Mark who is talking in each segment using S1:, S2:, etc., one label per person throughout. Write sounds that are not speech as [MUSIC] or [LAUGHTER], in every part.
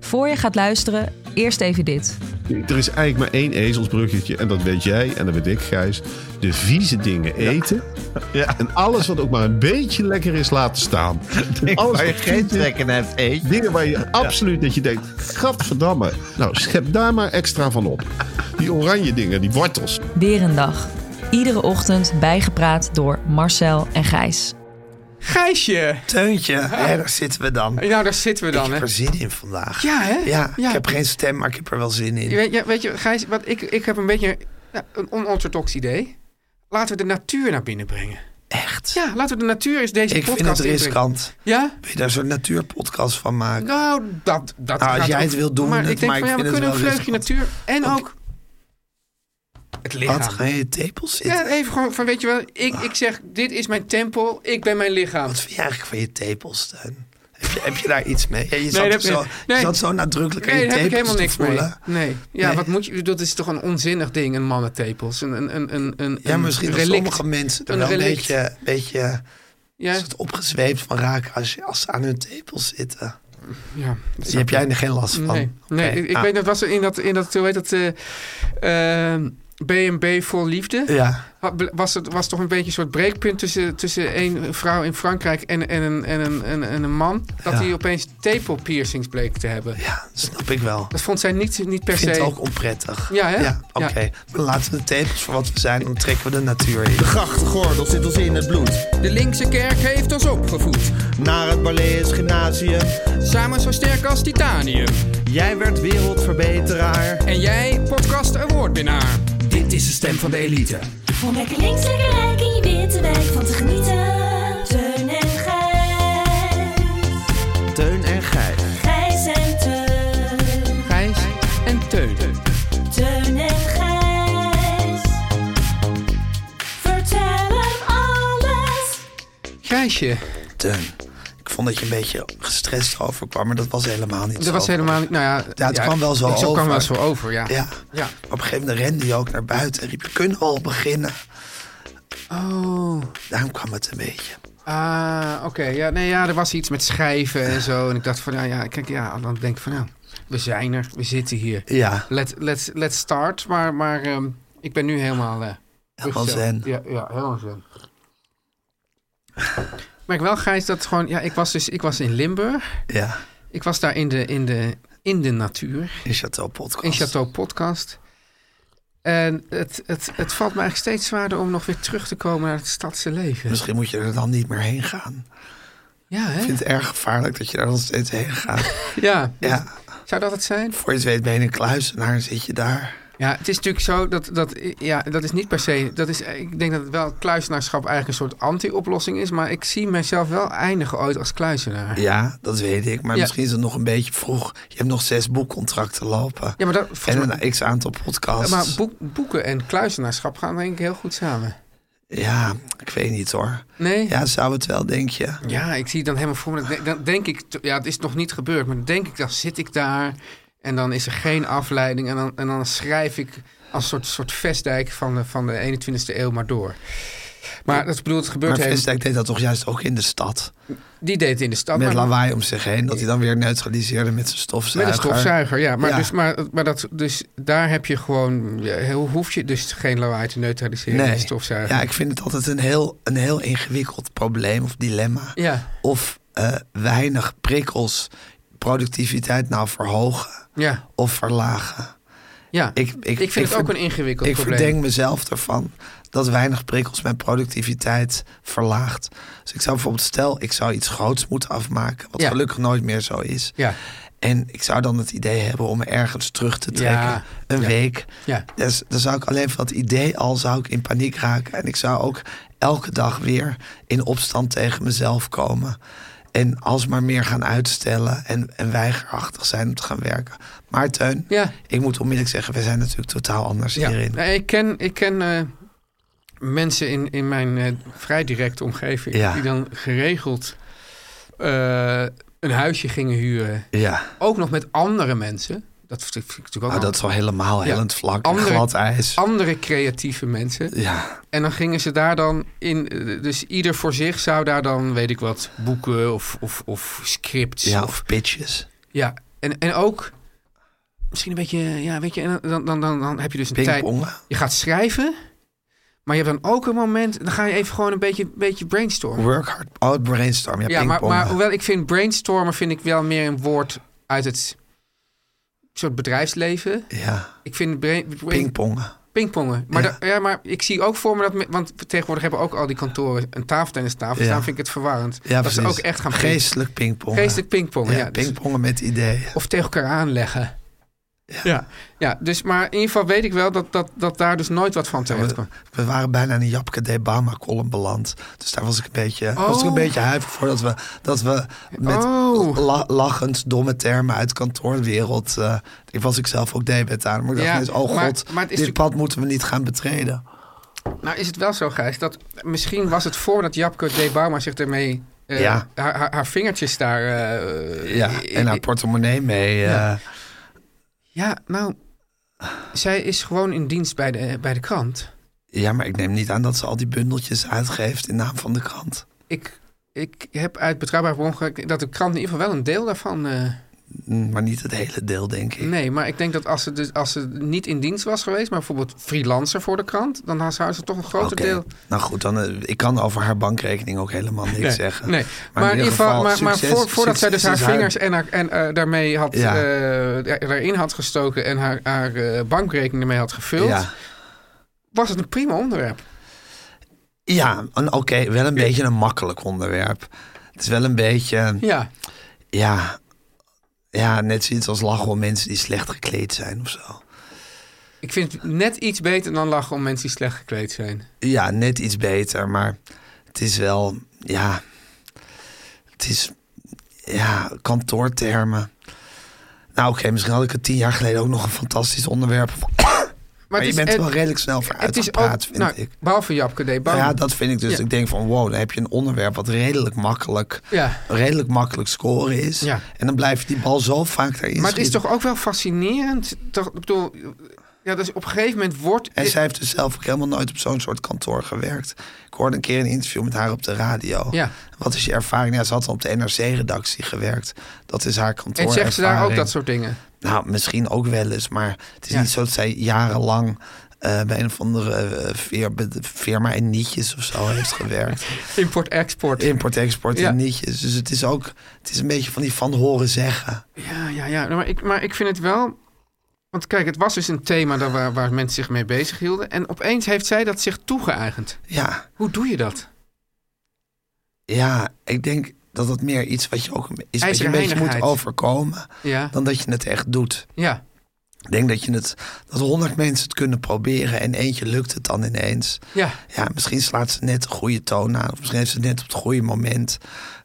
S1: Voor je gaat luisteren, eerst even dit.
S2: Er is eigenlijk maar één ezelsbruggetje. En dat weet jij en dat weet ik, Gijs. De vieze dingen eten.
S3: Ja.
S2: En alles wat ook maar een beetje lekker is laten
S3: [LAUGHS]
S2: staan. alles
S3: Waar je
S2: wat
S3: geen
S2: vieze
S3: trek in hebt, eet.
S2: Dingen waar je absoluut dat je denkt, gadverdamme. Nou, schep daar maar extra van op. Die oranje dingen, die wortels.
S1: Weer een dag. Iedere ochtend bijgepraat door Marcel en Gijs.
S4: Gijsje.
S5: Teuntje, hè, daar zitten we dan.
S4: Nou, daar zitten we
S5: ik
S4: dan, hè.
S5: heb er zin in vandaag.
S4: Ja, hè?
S5: Ja,
S4: Ja.
S5: ik heb geen stem, maar ik heb er wel zin in.
S4: Je weet, ja, weet je, Gijs, wat ik, ik heb een beetje nou, een onorthodox idee. Laten we de natuur naar binnen brengen.
S5: Echt.
S4: Ja, laten we de natuur eens deze
S5: ik vind
S4: podcast
S5: het
S4: inbrengen.
S5: riskant.
S4: Ja?
S5: Wil je daar zo'n natuurpodcast van maken?
S4: Nou, dat, dat
S5: Nou, als
S4: gaat
S5: jij
S4: ook-
S5: het wilt doen,
S4: Maar
S5: het-
S4: ik denk
S5: maar
S4: van,
S5: ik
S4: ja, we
S5: vind het
S4: kunnen een
S5: wel
S4: vleugje
S5: riskant.
S4: natuur en
S5: Oké.
S4: ook het
S5: Wat,
S4: lichaam.
S5: ga je in je tepel zitten?
S4: Ja, even gewoon van, weet je wel, ik, ik zeg, dit is mijn tempel, ik ben mijn lichaam.
S5: Wat vind je eigenlijk van je tepels, Steun? Heb je, heb je daar iets mee? Ja, je,
S4: daar
S5: zat
S4: heb
S5: zat
S4: je-
S5: zo,
S4: nee.
S5: je zat zo nadrukkelijk aan
S4: Nee,
S5: je
S4: daar heb ik
S5: tepels
S4: helemaal
S5: te
S4: niks mee.
S5: voelen.
S4: Nee. Ja,
S5: Nee.
S4: wat moet je... Dat is toch een onzinnig ding, een mannentepels. Een, een, een, een, een
S5: Ja,
S4: een
S5: misschien dat
S4: relict.
S5: sommige mensen er
S4: Een
S5: wel een
S4: relict.
S5: beetje, beetje
S4: Ja,
S5: soort opgezweept van raken als, je- als ze aan hun tepels zitten.
S4: ja. dat
S5: Daar heb jij er geen last van.
S4: Nee, nee
S5: Oké,
S4: ik, ik
S5: ah,
S4: weet dat was er in dat, in dat hoe heet dat, eh, eh, B&B Vol Liefde.
S5: Ja.
S4: Ha- ble- Was, het, was toch een beetje een soort breekpunt tussen, tussen een vrouw in Frankrijk en, en, een, en, een, en, en een man. Dat
S5: Ja.
S4: hij opeens tepelpiercings bleek te hebben.
S5: Ja, snap ik wel.
S4: Dat vond zij niet, niet per
S5: Ik vind
S4: se.
S5: het ook onprettig.
S4: Ja, hè?
S5: Ja, oké.
S4: Ja.
S5: Dan laten we de tepels voor wat we zijn. Dan trekken we de natuur in.
S6: De grachtgordel zit ons in het bloed.
S4: De linkse kerk heeft ons opgevoed.
S6: Naar het Balees Gymnasium.
S4: Samen zo sterk als titanium.
S6: Jij werd wereldverbeteraar.
S4: En jij, podcast awardwinnaar. Dit is de stem van de elite.
S7: Om lekker links, lekker rijk in je witte wijk van te genieten. Teun en Gijs.
S6: Teun en Gijs.
S7: Gijs en Teun.
S4: Gijs en Teun.
S7: Teun en Gijs. Vertel hem alles.
S4: Gijsje.
S5: Teun, ik vond dat je een beetje gestrest overkwam. Maar dat was helemaal niet
S4: Dat
S5: zo.
S4: was helemaal niet. Nou ja,
S5: Ja, het kwam wel zo
S4: Het kwam
S5: over.
S4: wel zo over, ja.
S5: Ja.
S4: Ja.
S5: Op een gegeven moment rende je ook naar buiten. En riep je, kunnen we al beginnen?
S4: Oh.
S5: Daarom kwam het een beetje.
S4: Ah, oké. Ja, nee, ja, er was iets met schrijven en zo. En ik dacht van, nou ja, kijk, ja, dan denk ik van, nou, we zijn er. We zitten hier.
S5: Ja,
S4: Let, let's, let's start. Maar, maar ehm, ik ben nu helemaal... eh,
S5: helemaal
S4: rustig.
S5: zen.
S4: Ja, ja, helemaal zen. Ik merk wel, Gijs, dat gewoon... Ja, ik was dus ik was in Limburg.
S5: Ja,
S4: Ik was daar in de, in de, in de natuur.
S5: in Chateau Podcast.
S4: in Chateau Podcast. En het, het, het valt me eigenlijk steeds zwaarder om nog weer terug te komen naar het stadse leven.
S5: Misschien moet je er dan niet meer heen gaan.
S4: Ja,
S5: Ik
S4: hè?
S5: vind het erg gevaarlijk dat je daar nog steeds heen gaat.
S4: Ja.
S5: ja,
S4: Zou dat het zijn?
S5: voor je het weet ben je een kluisenaar zit je daar.
S4: Ja, het is natuurlijk zo dat dat, ja, dat is niet per se. Dat is, ik denk dat het wel kluisenaarschap eigenlijk een soort anti-oplossing is. Maar ik zie mezelf wel eindigen ooit als kluisenaar.
S5: Ja, dat weet ik. Maar
S4: Ja.
S5: misschien is het nog een beetje vroeg. Je hebt nog zes boekcontracten lopen.
S4: Ja, maar, dat,
S5: en
S4: volgens mij-
S5: een x aantal podcasts.
S4: maar boek- boeken en kluisenaarschap gaan denk ik heel goed samen.
S5: Ja, ik weet niet hoor.
S4: Nee?
S5: Ja, zou het wel, denk je?
S4: Ja, ik zie het dan helemaal voor me. Dan denk- Dan denk ik, t- ja, het is nog niet gebeurd, maar dan denk ik, dan zit ik daar en dan is er geen afleiding. En dan, en dan schrijf ik als een soort, soort vestdijk van de, van de 21ste eeuw maar door. Maar dat bedoelt, het gebeurt
S5: Maar
S4: helemaal-
S5: Vestdijk deed dat toch juist ook in de stad?
S4: Die deed het in de stad.
S5: Met
S4: maar-
S5: lawaai om zich heen. Dat hij dan weer neutraliseerde met zijn
S4: Met
S5: stofzuiger.
S4: een stofzuiger, ja. Maar,
S5: Ja.
S4: Dus, maar, maar dat, dus daar heb je gewoon, ja, heel, hoef je dus geen lawaai te neutraliseren met
S5: Nee.
S4: een stofzuiger.
S5: Ja, ik vind het altijd een heel, een heel ingewikkeld probleem of dilemma.
S4: Ja.
S5: Of eh, weinig prikkels productiviteit nou verhogen
S4: Ja,
S5: of verlagen.
S4: ja.
S5: Ik, ik,
S4: vind het ook
S5: verd-
S4: een ingewikkeld
S5: ik
S4: probleem.
S5: verdenk mezelf ervan dat weinig prikkels mijn productiviteit verlaagt. Dus ik zou bijvoorbeeld, stel, ik zou iets groots moeten afmaken, wat
S4: Ja.
S5: gelukkig nooit meer zo is.
S4: Ja.
S5: En ik zou dan het idee hebben om ergens terug te trekken.
S4: Ja.
S5: Een
S4: Ja.
S5: week.
S4: Ja.
S5: Dus dan zou ik alleen van dat idee al zou ik in paniek raken. En ik zou ook elke dag weer in opstand tegen mezelf komen. En alsmaar meer gaan uitstellen en, en weigerachtig zijn om te gaan werken. Maar Teun,
S4: Ja.
S5: ik moet onmiddellijk zeggen, we zijn natuurlijk totaal anders
S4: Ja.
S5: hierin.
S4: Nee, ik ken, ik ken eh, mensen in, in mijn eh, vrij directe omgeving
S5: Ja.
S4: die dan geregeld eh, een huisje gingen huren.
S5: Ja,
S4: Ook nog met andere mensen. Dat vind ik vind ik natuurlijk ook
S5: nou, dat
S4: al-
S5: is al helemaal
S4: Ja.
S5: hellend vlak en
S4: Andere- Ah.
S5: glad ijs.
S4: andere creatieve mensen.
S5: Ja,
S4: En dan gingen ze daar dan in. eh, Dus ieder voor zich zou daar dan, weet ik wat, boeken of, of, of scripts.
S5: ja,
S4: Of,
S5: of pitches.
S4: ja. En, en ook misschien een beetje, ja, weet je, en dan, dan, dan, dan heb je dus een tijd.
S5: Pingpongen.
S4: Je gaat schrijven, maar je hebt dan ook een moment. Dan ga je even gewoon een beetje, beetje brainstormen.
S5: Work hard. Oh, brainstorm. Ja,
S4: Ja, maar,
S5: pingpongen.
S4: maar hoewel ik vind brainstormen, vind ik wel meer een woord uit het soort bedrijfsleven.
S5: Ja,
S4: Ik vind brain, brain-
S5: pingpongen.
S4: Pingpongen. Maar,
S5: Ja.
S4: da- ja, maar ik zie ook voor me dat... me- want tegenwoordig hebben ook al die kantoren een tafeltennistafel. Dus
S5: Ja.
S4: daar vind ik het verwarrend.
S5: Ja,
S4: dat ze
S5: precies.
S4: ook echt gaan ping-
S5: Geestelijk pingpongen.
S4: geestelijk pingpongen.
S5: Ja,
S4: Ja, dus-
S5: pingpongen met ideeën.
S4: of tegen elkaar aanleggen. Ja. Ja. dus maar in ieder geval weet ik wel dat, dat, dat daar dus nooit wat van terecht
S5: We,
S4: kwam.
S5: we waren bijna in een Japke de Bama column beland. Dus daar was ik een beetje, was ik een
S4: Oh.
S5: beetje huiverig voor dat we, dat we met
S4: Oh.
S5: la- lachend domme termen uit kantoorwereld. eh ik was ik zelf ook debet aan. Maar ik dacht
S4: Ja,
S5: ineens, oh
S4: maar-
S5: god,
S4: maar het is
S5: dit
S4: natuurlijk-
S5: pad moeten we niet gaan betreden.
S4: Nou is het wel zo, Gijs, dat misschien was het voordat Japke D. Bauma zich ermee... eh,
S5: Ja.
S4: haar, haar, haar vingertjes daar... eh,
S5: Ja,
S4: i-
S5: en haar
S4: i-
S5: portemonnee mee. eh,
S4: Ja. ja, nou... Zij is gewoon in dienst bij de, bij de krant.
S5: ja, maar ik neem niet aan dat ze al die bundeltjes uitgeeft in naam van de krant.
S4: ik, ik heb uit betrouwbaar bron gehoord dat de krant in ieder geval wel een deel daarvan. eh,
S5: Mm, Maar niet het hele deel, denk ik.
S4: nee, maar ik denk dat als ze, dus, als ze niet in dienst was geweest, maar bijvoorbeeld freelancer voor de krant, dan zou ze toch een groter
S5: Oké.
S4: deel.
S5: Nou goed, dan, eh, ik kan over haar bankrekening ook helemaal niks
S4: Nee,
S5: zeggen.
S4: nee. Maar, in ieder geval, maar, maar
S5: succes-
S4: voor, voordat zij dus haar
S5: succes is
S4: vingers en, haar, en eh, daarmee had,
S5: Ja.
S4: eh, er- erin had gestoken en haar, haar eh, bankrekening ermee had gevuld,
S5: Ja,
S4: was het een prima onderwerp.
S5: ja een- oké, wel een beetje een makkelijk onderwerp. Het is wel een beetje,
S4: Ja,
S5: ja, ja, net zoiets als lachen om mensen die slecht gekleed zijn of zo.
S4: ik vind het net iets beter dan lachen om mensen die slecht gekleed zijn.
S5: Ja, net iets beter, maar het is wel, ja, het is, ja, kantoortermen. Nou oké, misschien had ik het tien jaar geleden ook nog een fantastisch onderwerp. Maar,
S4: het
S5: je
S4: is-
S5: bent er
S4: het-
S5: wel redelijk snel voor
S4: het is
S5: uitgepraat,
S4: ook-
S5: vind
S4: nou,
S5: ik.
S4: Behalve Japke D.
S5: Nou
S4: Bauma.
S5: ja, dat vind ik dus.
S4: Ja.
S5: Ik denk van, wow, dan heb je een onderwerp wat redelijk makkelijk,
S4: Ja.
S5: redelijk makkelijk scoren is.
S4: Ja.
S5: En dan blijf je die bal zo vaak daarin
S4: Maar het is
S5: schieten.
S4: toch ook wel fascinerend. Toch, ik bedoel, ja, dus op een gegeven moment wordt.
S5: En zij heeft dus zelf ook helemaal nooit op zo'n soort kantoor gewerkt. Ik hoorde een keer een interview met haar op de radio.
S4: Ja.
S5: Wat is je ervaring? Ja, ze had dan op de NRC-redactie gewerkt. Dat is haar kantoor.
S4: en zegt ze daar ook dat soort dingen?
S5: Nou, misschien ook wel eens, maar het is
S4: Ja.
S5: niet zo dat zij jarenlang eh, bij een of andere eh, veer- be- firma in nietjes of zo heeft gewerkt.
S4: Import-export.
S5: Import-export
S4: Ja.
S5: in nietjes. Dus het is ook, het is een beetje van die van horen zeggen.
S4: Ja, ja, ja. Nou, Maar ik, maar ik vind het wel. Want kijk, het was dus een thema daar waar, waar mensen zich mee bezig hielden. En opeens heeft zij dat zich toegeëigend.
S5: Ja,
S4: Hoe doe je dat?
S5: ja, ik denk dat dat meer iets wat je ook een- is wat je een beetje moet
S4: Ijzerheiligheid.
S5: overkomen
S4: Ja,
S5: dan dat je het echt doet.
S4: ja,
S5: Ik denk dat je het dat honderd mensen het kunnen proberen en eentje lukt het dan ineens.
S4: ja.
S5: Ja, misschien slaat ze net de goede toon aan, of misschien heeft ze het net op het goede moment,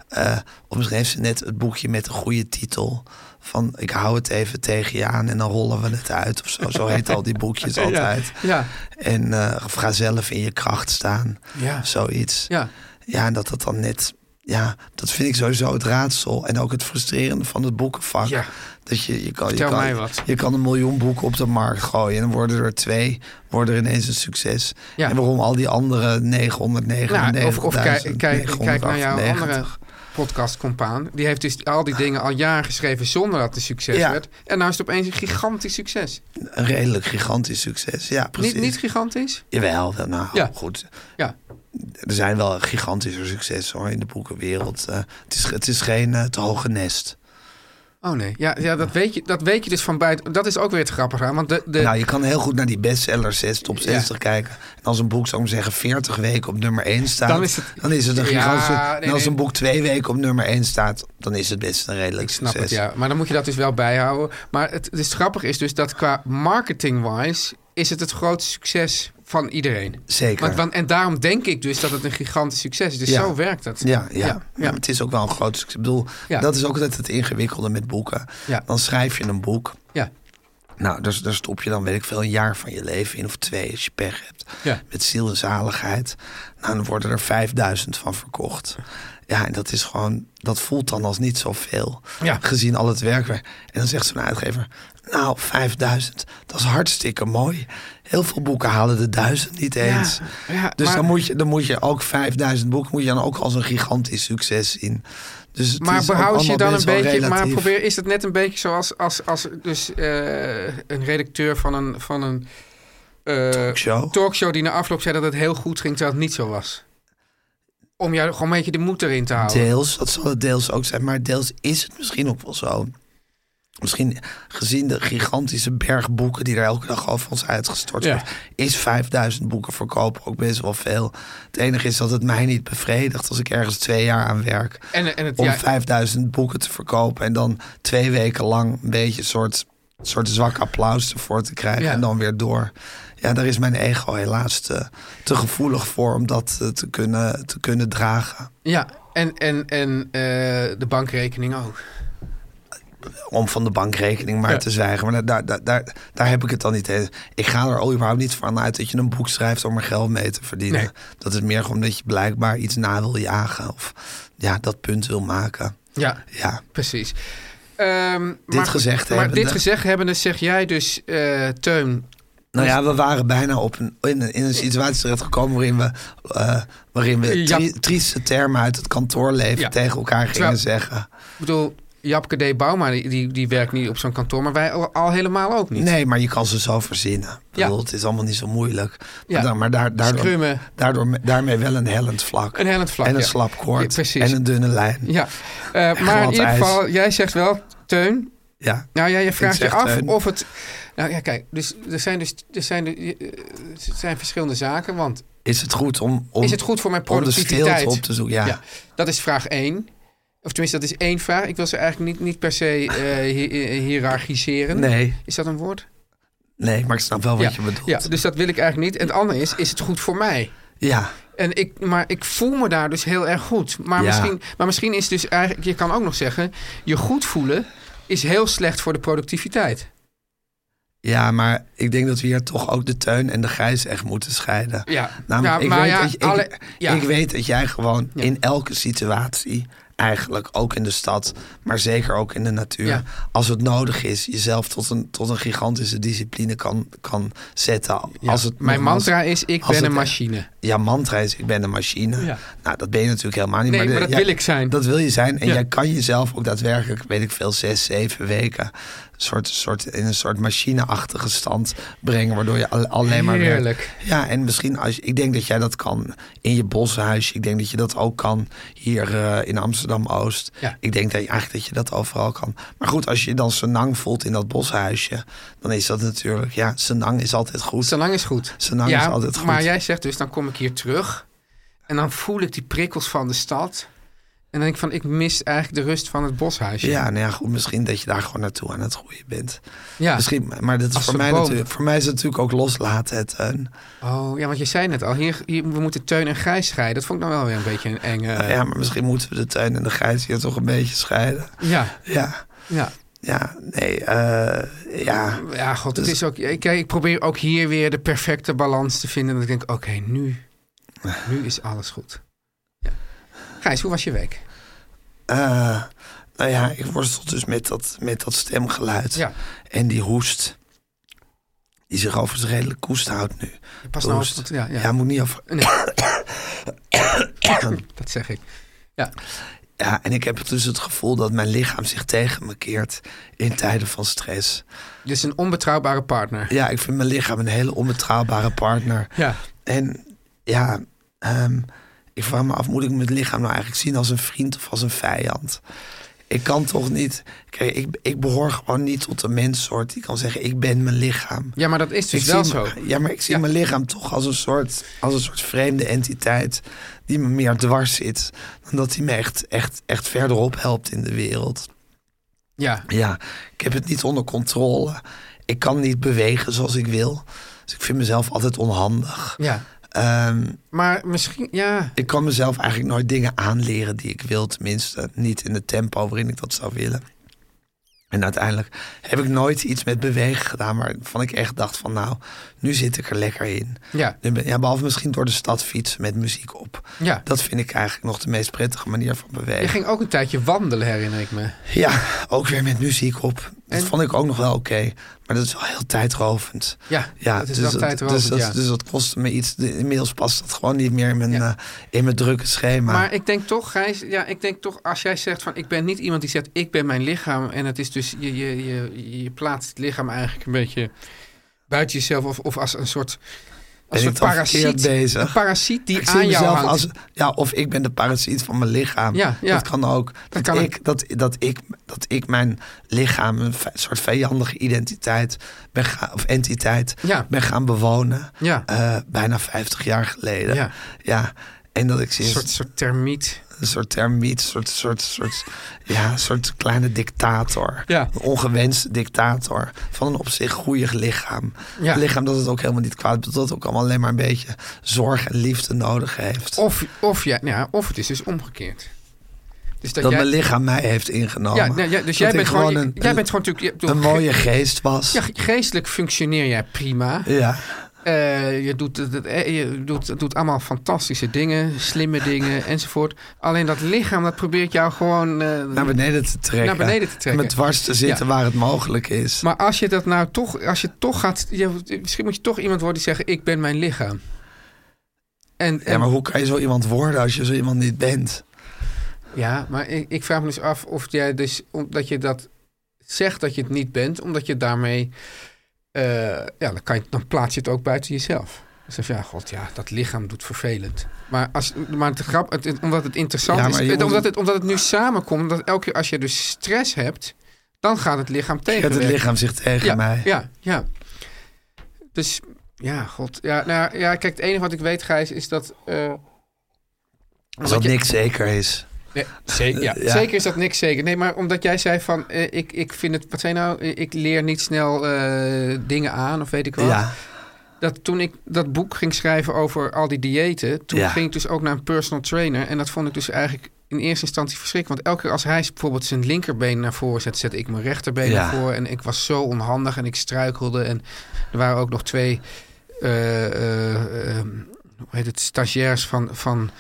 S5: Eh, of misschien heeft ze net het boekje met de goede titel. Van ik hou het even tegen je aan en dan rollen we het uit of zo. Zo heet al die boekjes altijd.
S4: [LAUGHS] Ja,
S5: En eh, of ga zelf in je kracht staan.
S4: ja.
S5: Of zoiets. Ja.
S4: ja.
S5: en dat dat dan net... Ja, dat vind ik sowieso het raadsel. En ook het frustrerende van het boekenvak.
S4: Ja.
S5: Dat je, je, kan, je,
S4: Vertel
S5: kan,
S4: mij wat.
S5: je kan een miljoen boeken op de markt gooien. En dan worden er twee, worden er ineens een succes.
S4: Ja.
S5: En waarom al die andere 999.000...
S4: Nou, of of kijk, kijk, kijk naar jouw
S5: 998.
S4: andere podcastcompaan. Die heeft dus al die dingen al jaren geschreven zonder dat het succes
S5: Ja.
S4: werd. En nou is het opeens een gigantisch succes.
S5: Een redelijk gigantisch succes. Ja, precies.
S4: Niet, niet gigantisch?
S5: Jawel, nou
S4: Ja.
S5: goed.
S4: Ja.
S5: er zijn wel gigantische successen hoor, in de boekenwereld. Eh, het, is, het is geen eh, te hoge nest.
S4: Oh nee, ja, ja dat, weet je, dat weet je dus van buiten. Dat is ook weer het grappige aan. Want de, de,
S5: Nou, je kan heel goed naar die bestsellers, zes, top 60 kijken. En als een boek, zou ik maar zeggen, 40 weken op nummer 1 staat,
S4: Dan is het-
S5: een
S4: Ja,
S5: gigantische...
S4: nee,
S5: en als
S4: nee.
S5: een boek twee weken op nummer 1 staat, dan is het best een redelijk
S4: ik snap
S5: succes.
S4: het, ja. Maar dan moet je dat dus wel bijhouden. Maar het, het is grappig is dus dat qua marketing-wise... is het het grootste succes van iedereen.
S5: Zeker.
S4: Want, want- en daarom denk ik dus dat het een gigantisch succes is. Dus
S5: Ja.
S4: zo werkt dat.
S5: Ja, ja.
S4: Ja,
S5: ja,
S4: ja.
S5: het is ook wel een groot succes. Ik bedoel,
S4: Ja.
S5: dat is ook altijd het ingewikkelde met boeken.
S4: Ja.
S5: Dan schrijf je een boek.
S4: Ja.
S5: Nou, daar, daar stop je dan, weet ik veel, een jaar van je leven in of twee als je pech hebt.
S4: Ja.
S5: Met ziel en zaligheid. Nou, dan worden er 5000 van verkocht. Ja, en dat is gewoon, dat voelt dan als niet zoveel.
S4: Ja.
S5: Gezien al het werkwerk. En dan zegt zo'n uitgever, nou, 5000, dat is hartstikke mooi. Heel veel boeken halen de duizend niet eens.
S4: ja,
S5: dus
S4: maar-
S5: dan, moet je, dan moet je ook 5000 boeken, moet je dan ook als een gigantisch succes zien. Dus het
S4: Maar
S5: is ook
S4: behoud je
S5: allemaal
S4: dan een
S5: best wel
S4: beetje. Maar
S5: relatief.
S4: probeer, is het net een beetje zoals als, als dus, eh, een redacteur van een, van een eh,
S5: Talkshow?
S4: talkshow die na afloop zei dat het heel goed ging, terwijl het niet zo was. Om jou gewoon een beetje de moed erin te houden.
S5: Deels, dat zal het deels ook zijn, maar deels is het misschien ook wel zo. Misschien gezien de gigantische berg boeken die er elke dag over ons uitgestort
S4: Ja.
S5: wordt, is 5000 boeken verkopen ook best wel veel. Het enige is dat het mij niet bevredigt als ik ergens twee jaar aan werk
S4: En, en het,
S5: om
S4: ja,
S5: 5000 boeken te verkopen en dan twee weken lang een beetje een soort, soort zwak applaus ervoor te krijgen
S4: Ja.
S5: en dan weer door. Ja, daar is mijn ego helaas te, te gevoelig voor om dat eh, te kunnen, te kunnen dragen.
S4: ja, en, en, en eh, de bankrekening ook.
S5: om van de bankrekening maar
S4: Ja.
S5: te zwijgen. Maar daar, daar, daar, daar heb ik het dan niet eens. Ik ga er al überhaupt niet van uit dat je een boek schrijft om er geld mee te verdienen.
S4: Nee.
S5: Dat is meer gewoon dat je blijkbaar iets na wil jagen. Of ja, dat punt wil maken.
S4: Ja,
S5: Ja,
S4: precies. Ehm, maar,
S5: gezegd
S4: maar
S5: hebbende-
S4: dit gezegd hebbende zeg jij dus, eh, Teun,
S5: Nou ja, we waren bijna op een, in, een- in een situatie terechtgekomen waarin we, eh, waarin we
S4: Ja.
S5: tri- trieste termen uit het kantoorleven
S4: Ja.
S5: tegen elkaar gingen
S4: Terwijl-
S5: zeggen.
S4: ik bedoel, Japke D. Bouma, die, die, die werkt niet op zo'n kantoor, maar wij al, al helemaal ook niet.
S5: Nee, maar je kan ze zo verzinnen. Ik
S4: Ja.
S5: bedoel, het is allemaal niet zo moeilijk. Maar,
S4: Ja.
S5: dan- maar daar, daardoor,
S4: Scrummen.
S5: daardoor, daarmee wel een hellend vlak.
S4: Een hellend vlak,
S5: En een
S4: ja.
S5: slap koord.
S4: Ja, precies.
S5: en een dunne lijn. Ja.
S4: Ja, eh, maar in
S5: glad
S4: ieder
S5: ijs.
S4: geval, jij zegt wel, Teun. Nou ja, je vraagt je
S5: zeg
S4: af
S5: Teun.
S4: of het. Nou ja, kijk, dus er zijn dus er zijn, er zijn verschillende zaken. Want
S5: Is het goed om, om,
S4: is het goed voor mijn
S5: om de
S4: productiviteit?
S5: stilte op te zoeken? Ja.
S4: Ja, dat is vraag één. Of tenminste, dat is één vraag. Ik wil ze eigenlijk niet, niet per se eh hi- eh, hiërarchiseren.
S5: Nee,
S4: Is dat een woord?
S5: nee, maar ik snap wel wat
S4: ja.
S5: je bedoelt.
S4: ja,
S5: Ja.
S4: dus dat wil ik eigenlijk niet. En het andere is, is het goed voor mij? En ik, maar ik voel me daar dus heel erg goed. Maar,
S5: Ja.
S4: misschien, maar misschien is dus eigenlijk, je kan ook nog zeggen, je goed voelen is heel slecht voor de productiviteit.
S5: Ja, maar ik denk dat we hier toch ook de teun en de grijs echt moeten scheiden.
S4: Ja.
S5: Namelijk,
S4: Ja,
S5: ik,
S4: maar
S5: weet
S4: ja,
S5: dat je- ik,
S4: alle- ja.
S5: ik weet dat jij gewoon
S4: Ja.
S5: in elke situatie, eigenlijk ook in de stad, maar zeker ook in de natuur,
S4: Ja.
S5: als het nodig is, jezelf tot een, tot een gigantische discipline kan, kan zetten.
S4: Ja.
S5: Als het
S4: Mijn
S5: nogmaals-
S4: mantra is, ik
S5: als
S4: ben
S5: het-
S4: een machine.
S5: Ja, mantra is, ik ben een machine.
S4: Ja.
S5: Nou, dat ben je natuurlijk helemaal niet.
S4: Nee,
S5: de-
S4: maar dat
S5: ja,
S4: wil ik zijn.
S5: Dat wil je zijn. En
S4: Ja.
S5: jij kan jezelf ook daadwerkelijk, weet ik veel, zes, zeven weken... Soort, soort, in een soort machineachtige stand brengen... waardoor je al- alleen maar... werkt.
S4: Heerlijk.
S5: Ja, en misschien als je- ik denk dat jij dat kan in je boshuisje. Ik denk dat je dat ook kan hier eh, in Amsterdam Oost.
S4: Ja.
S5: Ik denk dat je, eigenlijk dat je dat overal kan. Maar goed, als je je dan senang voelt in dat boshuisje, dan is dat natuurlijk. Ja, senang is altijd goed.
S4: Zolang is goed.
S5: Senang
S4: ja,
S5: is altijd goed.
S4: maar jij zegt dus, dan kom ik hier terug. En dan voel ik die prikkels van de stad. En dan denk ik van, ik mis eigenlijk de rust van het boshuisje.
S5: Ja, nou ja, goed, misschien dat je daar gewoon naartoe aan het groeien bent.
S4: Ja.
S5: Misschien, maar dat is
S4: Als
S5: voor
S4: een
S5: mij,
S4: boom.
S5: natuurlijk, voor mij is het natuurlijk ook loslaten. Het, Teun.
S4: Oh, ja, want je zei net al, hier, hier, we moeten Teun en Grijs scheiden. Dat vond ik dan wel weer een beetje een enge...
S5: Nou ja, maar misschien moeten we de tuin en de grijs hier toch een beetje scheiden.
S4: ja,
S5: Ja,
S4: ja.
S5: ja, nee, eh, ja.
S4: Ja, god,
S5: Dus-
S4: het is ook. Kijk, ik probeer ook hier weer de perfecte balans te vinden. Dat ik denk, oké, nu, nu is alles goed. Ja. Gijs, hoe was je week?
S5: Eh, nou ja, ik worstel dus met dat, met dat stemgeluid.
S4: Ja.
S5: En die hoest. Die zich overigens redelijk koest houdt nu.
S4: Pas
S5: De
S4: nou op.
S5: hoest.
S4: dat- Ja, ja.
S5: moet niet over.
S4: dat zeg ik.
S5: Ja, en ik heb dus het gevoel dat mijn lichaam zich tegen me keert in tijden van stress.
S4: Dit is Dus een onbetrouwbare partner.
S5: Ja, ik vind mijn lichaam een hele onbetrouwbare partner.
S4: Ja.
S5: En ja, Ehm, ik vraag me af, moet ik mijn lichaam nou eigenlijk zien als een vriend of als een vijand? Ik kan toch niet. Kijk, ik, ik behoor gewoon niet tot de menssoort die kan zeggen: ik ben mijn lichaam.
S4: Ja, maar dat is dus
S5: Ik
S4: wel
S5: zie
S4: zo.
S5: me- Ja, maar ik zie
S4: Ja.
S5: mijn lichaam toch als een, soort, als een soort vreemde entiteit die me meer dwars zit dan dat hij me echt, echt, echt verderop helpt in de wereld.
S4: Ja,
S5: Ja, ik heb het niet onder controle. Ik kan niet bewegen zoals ik wil. Dus ik vind mezelf altijd onhandig.
S4: ja.
S5: Ehm,
S4: Maar misschien, ja.
S5: ik kan mezelf eigenlijk nooit dingen aanleren die ik wil. Tenminste, niet in het tempo waarin ik dat zou willen. En uiteindelijk heb ik nooit iets met bewegen gedaan waarvan ik echt dacht van nou, nu zit ik er lekker in.
S4: Ja.
S5: Nu ben- ja behalve misschien door de stad fietsen met muziek op.
S4: Ja.
S5: Dat vind ik eigenlijk nog de meest prettige manier van bewegen.
S4: Je ging ook een tijdje wandelen, herinner ik me.
S5: Ja, ook weer met muziek op. Dat
S4: En-
S5: vond ik ook nog wel oké. maar dat is wel heel tijdrovend.
S4: Ja, dat is
S5: dus
S4: wel tijdrovend,
S5: Dus, dat-
S4: ja.
S5: dus dat kostte me iets. De- Inmiddels past dat gewoon niet meer in mijn,
S4: Ja.
S5: eh, in mijn drukke schema.
S4: Maar ik denk toch, Gijs, ja, ik denk toch, als jij zegt van ik ben niet iemand die zegt ik ben mijn lichaam. En het is dus, je, je, je, je plaatst het lichaam eigenlijk een beetje buiten jezelf of, of als een soort, als
S5: ik
S4: een soort
S5: dan verkeerd
S4: parasiet.
S5: bezig?
S4: Een parasiet die
S5: ik zie
S4: aan jou
S5: mezelf
S4: hangt.
S5: als. Ja, of ik ben de parasiet van mijn lichaam.
S4: Ja, ja.
S5: Dat kan ook. Dat,
S4: kan
S5: ik, dat, dat, ik, dat ik mijn lichaam, een v- soort vijandige identiteit ben ga- of entiteit,
S4: Ja.
S5: ben gaan bewonen.
S4: Ja.
S5: eh, bijna 50 jaar geleden.
S4: Ja.
S5: Ja, En dat ik
S4: een
S5: sinds
S4: soort, soort termiet.
S5: Een soort termiet, een soort, soort, soort, ja, een soort kleine dictator.
S4: Ja.
S5: Een ongewenste dictator van een op zich goeie lichaam.
S4: Ja.
S5: Een lichaam dat het ook helemaal niet kwaad doet, dat ook allemaal alleen maar een beetje zorg en liefde nodig heeft.
S4: Of, of, ja, nou ja, of het is dus omgekeerd. Dus dat,
S5: dat
S4: jij,
S5: mijn lichaam mij heeft ingenomen.
S4: ja, nou, ja, dus
S5: Dat
S4: jij
S5: ik
S4: bent gewoon,
S5: een,
S4: jij bent gewoon natuurlijk, je- ik bedoel,
S5: een mooie geest was.
S4: ge- ja, geestelijk functioneer jij prima.
S5: Ja.
S4: Eh, je doet, het- het- eh, je doet, doet allemaal fantastische dingen, slimme
S5: [LAUGHS]
S4: dingen enzovoort. Alleen dat lichaam, dat probeert jou gewoon... eh,
S5: Naar beneden te trekken.
S4: Naar beneden te trekken.
S5: En met dwars te zitten
S4: Ja.
S5: waar het mogelijk is.
S4: Maar als je dat nou toch, als je toch gaat... je- misschien moet je toch iemand worden die zegt, ik ben mijn lichaam. En, en,
S5: ja, maar hoe kan je zo iemand worden als je zo iemand niet bent?
S4: ja, maar ik, ik vraag me dus af of jij dus, omdat je dat zegt dat je het niet bent, omdat je daarmee, eh, ja, dan, kan je, dan plaats je het ook buiten jezelf. Dus dan zeg je, ja, god, ja, dat lichaam doet vervelend. Maar, als, maar het grap, het, het- omdat het interessant
S5: Ja, maar
S4: is,
S5: je
S4: het-
S5: moet-
S4: omdat, het, omdat het nu samenkomt, omdat elke keer als je dus stress hebt, dan gaat het lichaam tegen.
S5: Gaat het lichaam zich tegen
S4: ja,
S5: mij?
S4: Ja, ja. Dus ja, god. Ja, nou, ja, kijk, het enige wat ik weet, Gijs, is dat. eh,
S5: Als
S4: omdat
S5: dat
S4: je-
S5: niks zeker is.
S4: Nee, zeker, ja.
S5: Ja.
S4: zeker is dat niks zeker. Nee, maar omdat jij zei van, eh, ik, ik vind het, wat zei je nou, ik leer niet snel eh, dingen aan of weet ik wat.
S5: Ja.
S4: Dat toen ik dat boek ging schrijven over al die diëten, toen
S5: Ja.
S4: ging ik dus ook naar een personal trainer. En dat vond ik dus eigenlijk in eerste instantie verschrikkelijk. Want elke keer als hij bijvoorbeeld zijn linkerbeen naar voren zet, zet ik mijn rechterbeen
S5: Ja.
S4: naar voren. En ik was zo onhandig en ik struikelde. En er waren ook nog twee, eh, eh, ehm, hoe heet het, stagiairs van... van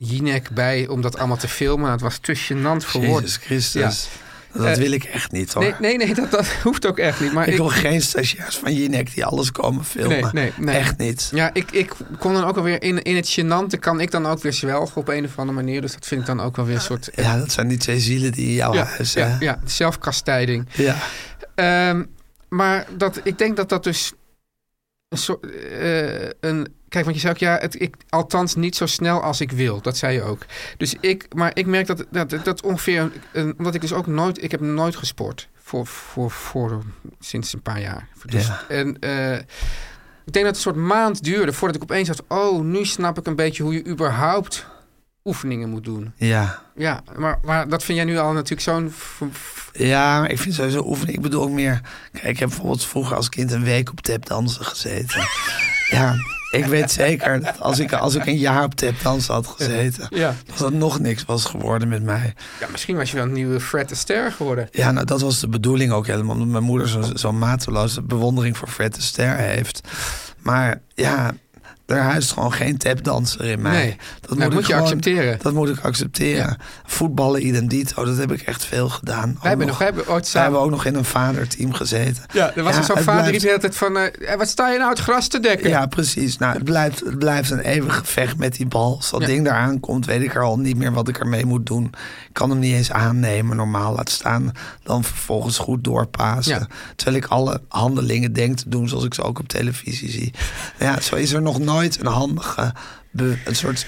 S4: Jinek bij om dat allemaal te filmen. Nou, het was te gênant voor woord.
S5: Jezus Christus. Dat
S4: Eh,
S5: wil ik echt niet hoor.
S4: Nee, nee, nee dat, dat [LAUGHS] hoeft ook echt niet. Maar
S5: ik
S4: ik,
S5: wil geen stagiairs van Jinek die alles komen filmen.
S4: Nee, nee, nee.
S5: Echt niet.
S4: Ja, ik, ik kon dan ook alweer in, in het gênante kan ik dan ook weer zwelgen op een of andere manier. Dus dat vind ik dan ook wel weer een soort...
S5: Ja, dat zijn die twee zielen die in jouw
S4: ja,
S5: huis
S4: ja,
S5: hè?
S4: ja, zelfkastijding.
S5: Ja.
S4: Ehm, maar dat, ik denk dat dat dus een soort... eh, een, kijk, want je zei ook, ja, het, ik, althans niet zo snel als ik wil. Dat zei je ook. Dus ik, maar ik merk dat, dat, dat ongeveer... een- een- omdat ik dus ook nooit... Ik heb nooit gesport. Voor, voor, voor sinds een paar jaar. Dus,
S5: Ja.
S4: En... eh, ik denk dat het een soort maand duurde voordat ik opeens had... oh, nu snap ik een beetje hoe je überhaupt oefeningen moet doen.
S5: Ja.
S4: Ja, maar, maar dat vind jij nu al natuurlijk zo'n... v- v-
S5: Ja, maar ik vind sowieso oefenen. Ik bedoel ook meer. Kijk, ik heb bijvoorbeeld vroeger als kind een week op tapdansen gezeten.
S4: [LAUGHS]
S5: ja, ik weet zeker dat als ik, als ik een jaar op tapdansen had gezeten,
S4: Ja.
S5: dat dat nog niks was geworden met mij.
S4: Ja, misschien was je wel een nieuwe Fred Astaire geworden.
S5: Ja, nou, dat was de bedoeling ook helemaal. Omdat mijn moeder zo- zo'n mateloze bewondering voor Fred Astaire heeft. Maar ja, er huist gewoon geen tapdanser in mij.
S4: Nee, dat moet
S5: ik
S4: je accepteren.
S5: Dat moet ik accepteren. Voetballen idem dito, dat heb ik echt veel gedaan. Ook
S4: Wij hebben, nog, wij hebben ooit
S5: wij
S4: samen...
S5: hebben ook nog in een vaderteam gezeten.
S4: ja, er was er zo'n
S5: het
S4: vader die
S5: blijft-
S4: zei altijd van... eh, wat sta je nou het gras te dekken?
S5: Ja, precies. Nou, het blijft, het blijft een eeuwig gevecht met die bal. Als dat
S4: Ja.
S5: ding eraan komt, weet ik er al niet meer wat ik ermee moet doen. Ik kan hem niet eens aannemen, normaal laat staan. Dan vervolgens goed doorpassen.
S4: Ja.
S5: Terwijl ik alle handelingen denk te doen zoals ik ze ook op televisie zie. Nou Ja, zo is er nog nooit een handige be- een soort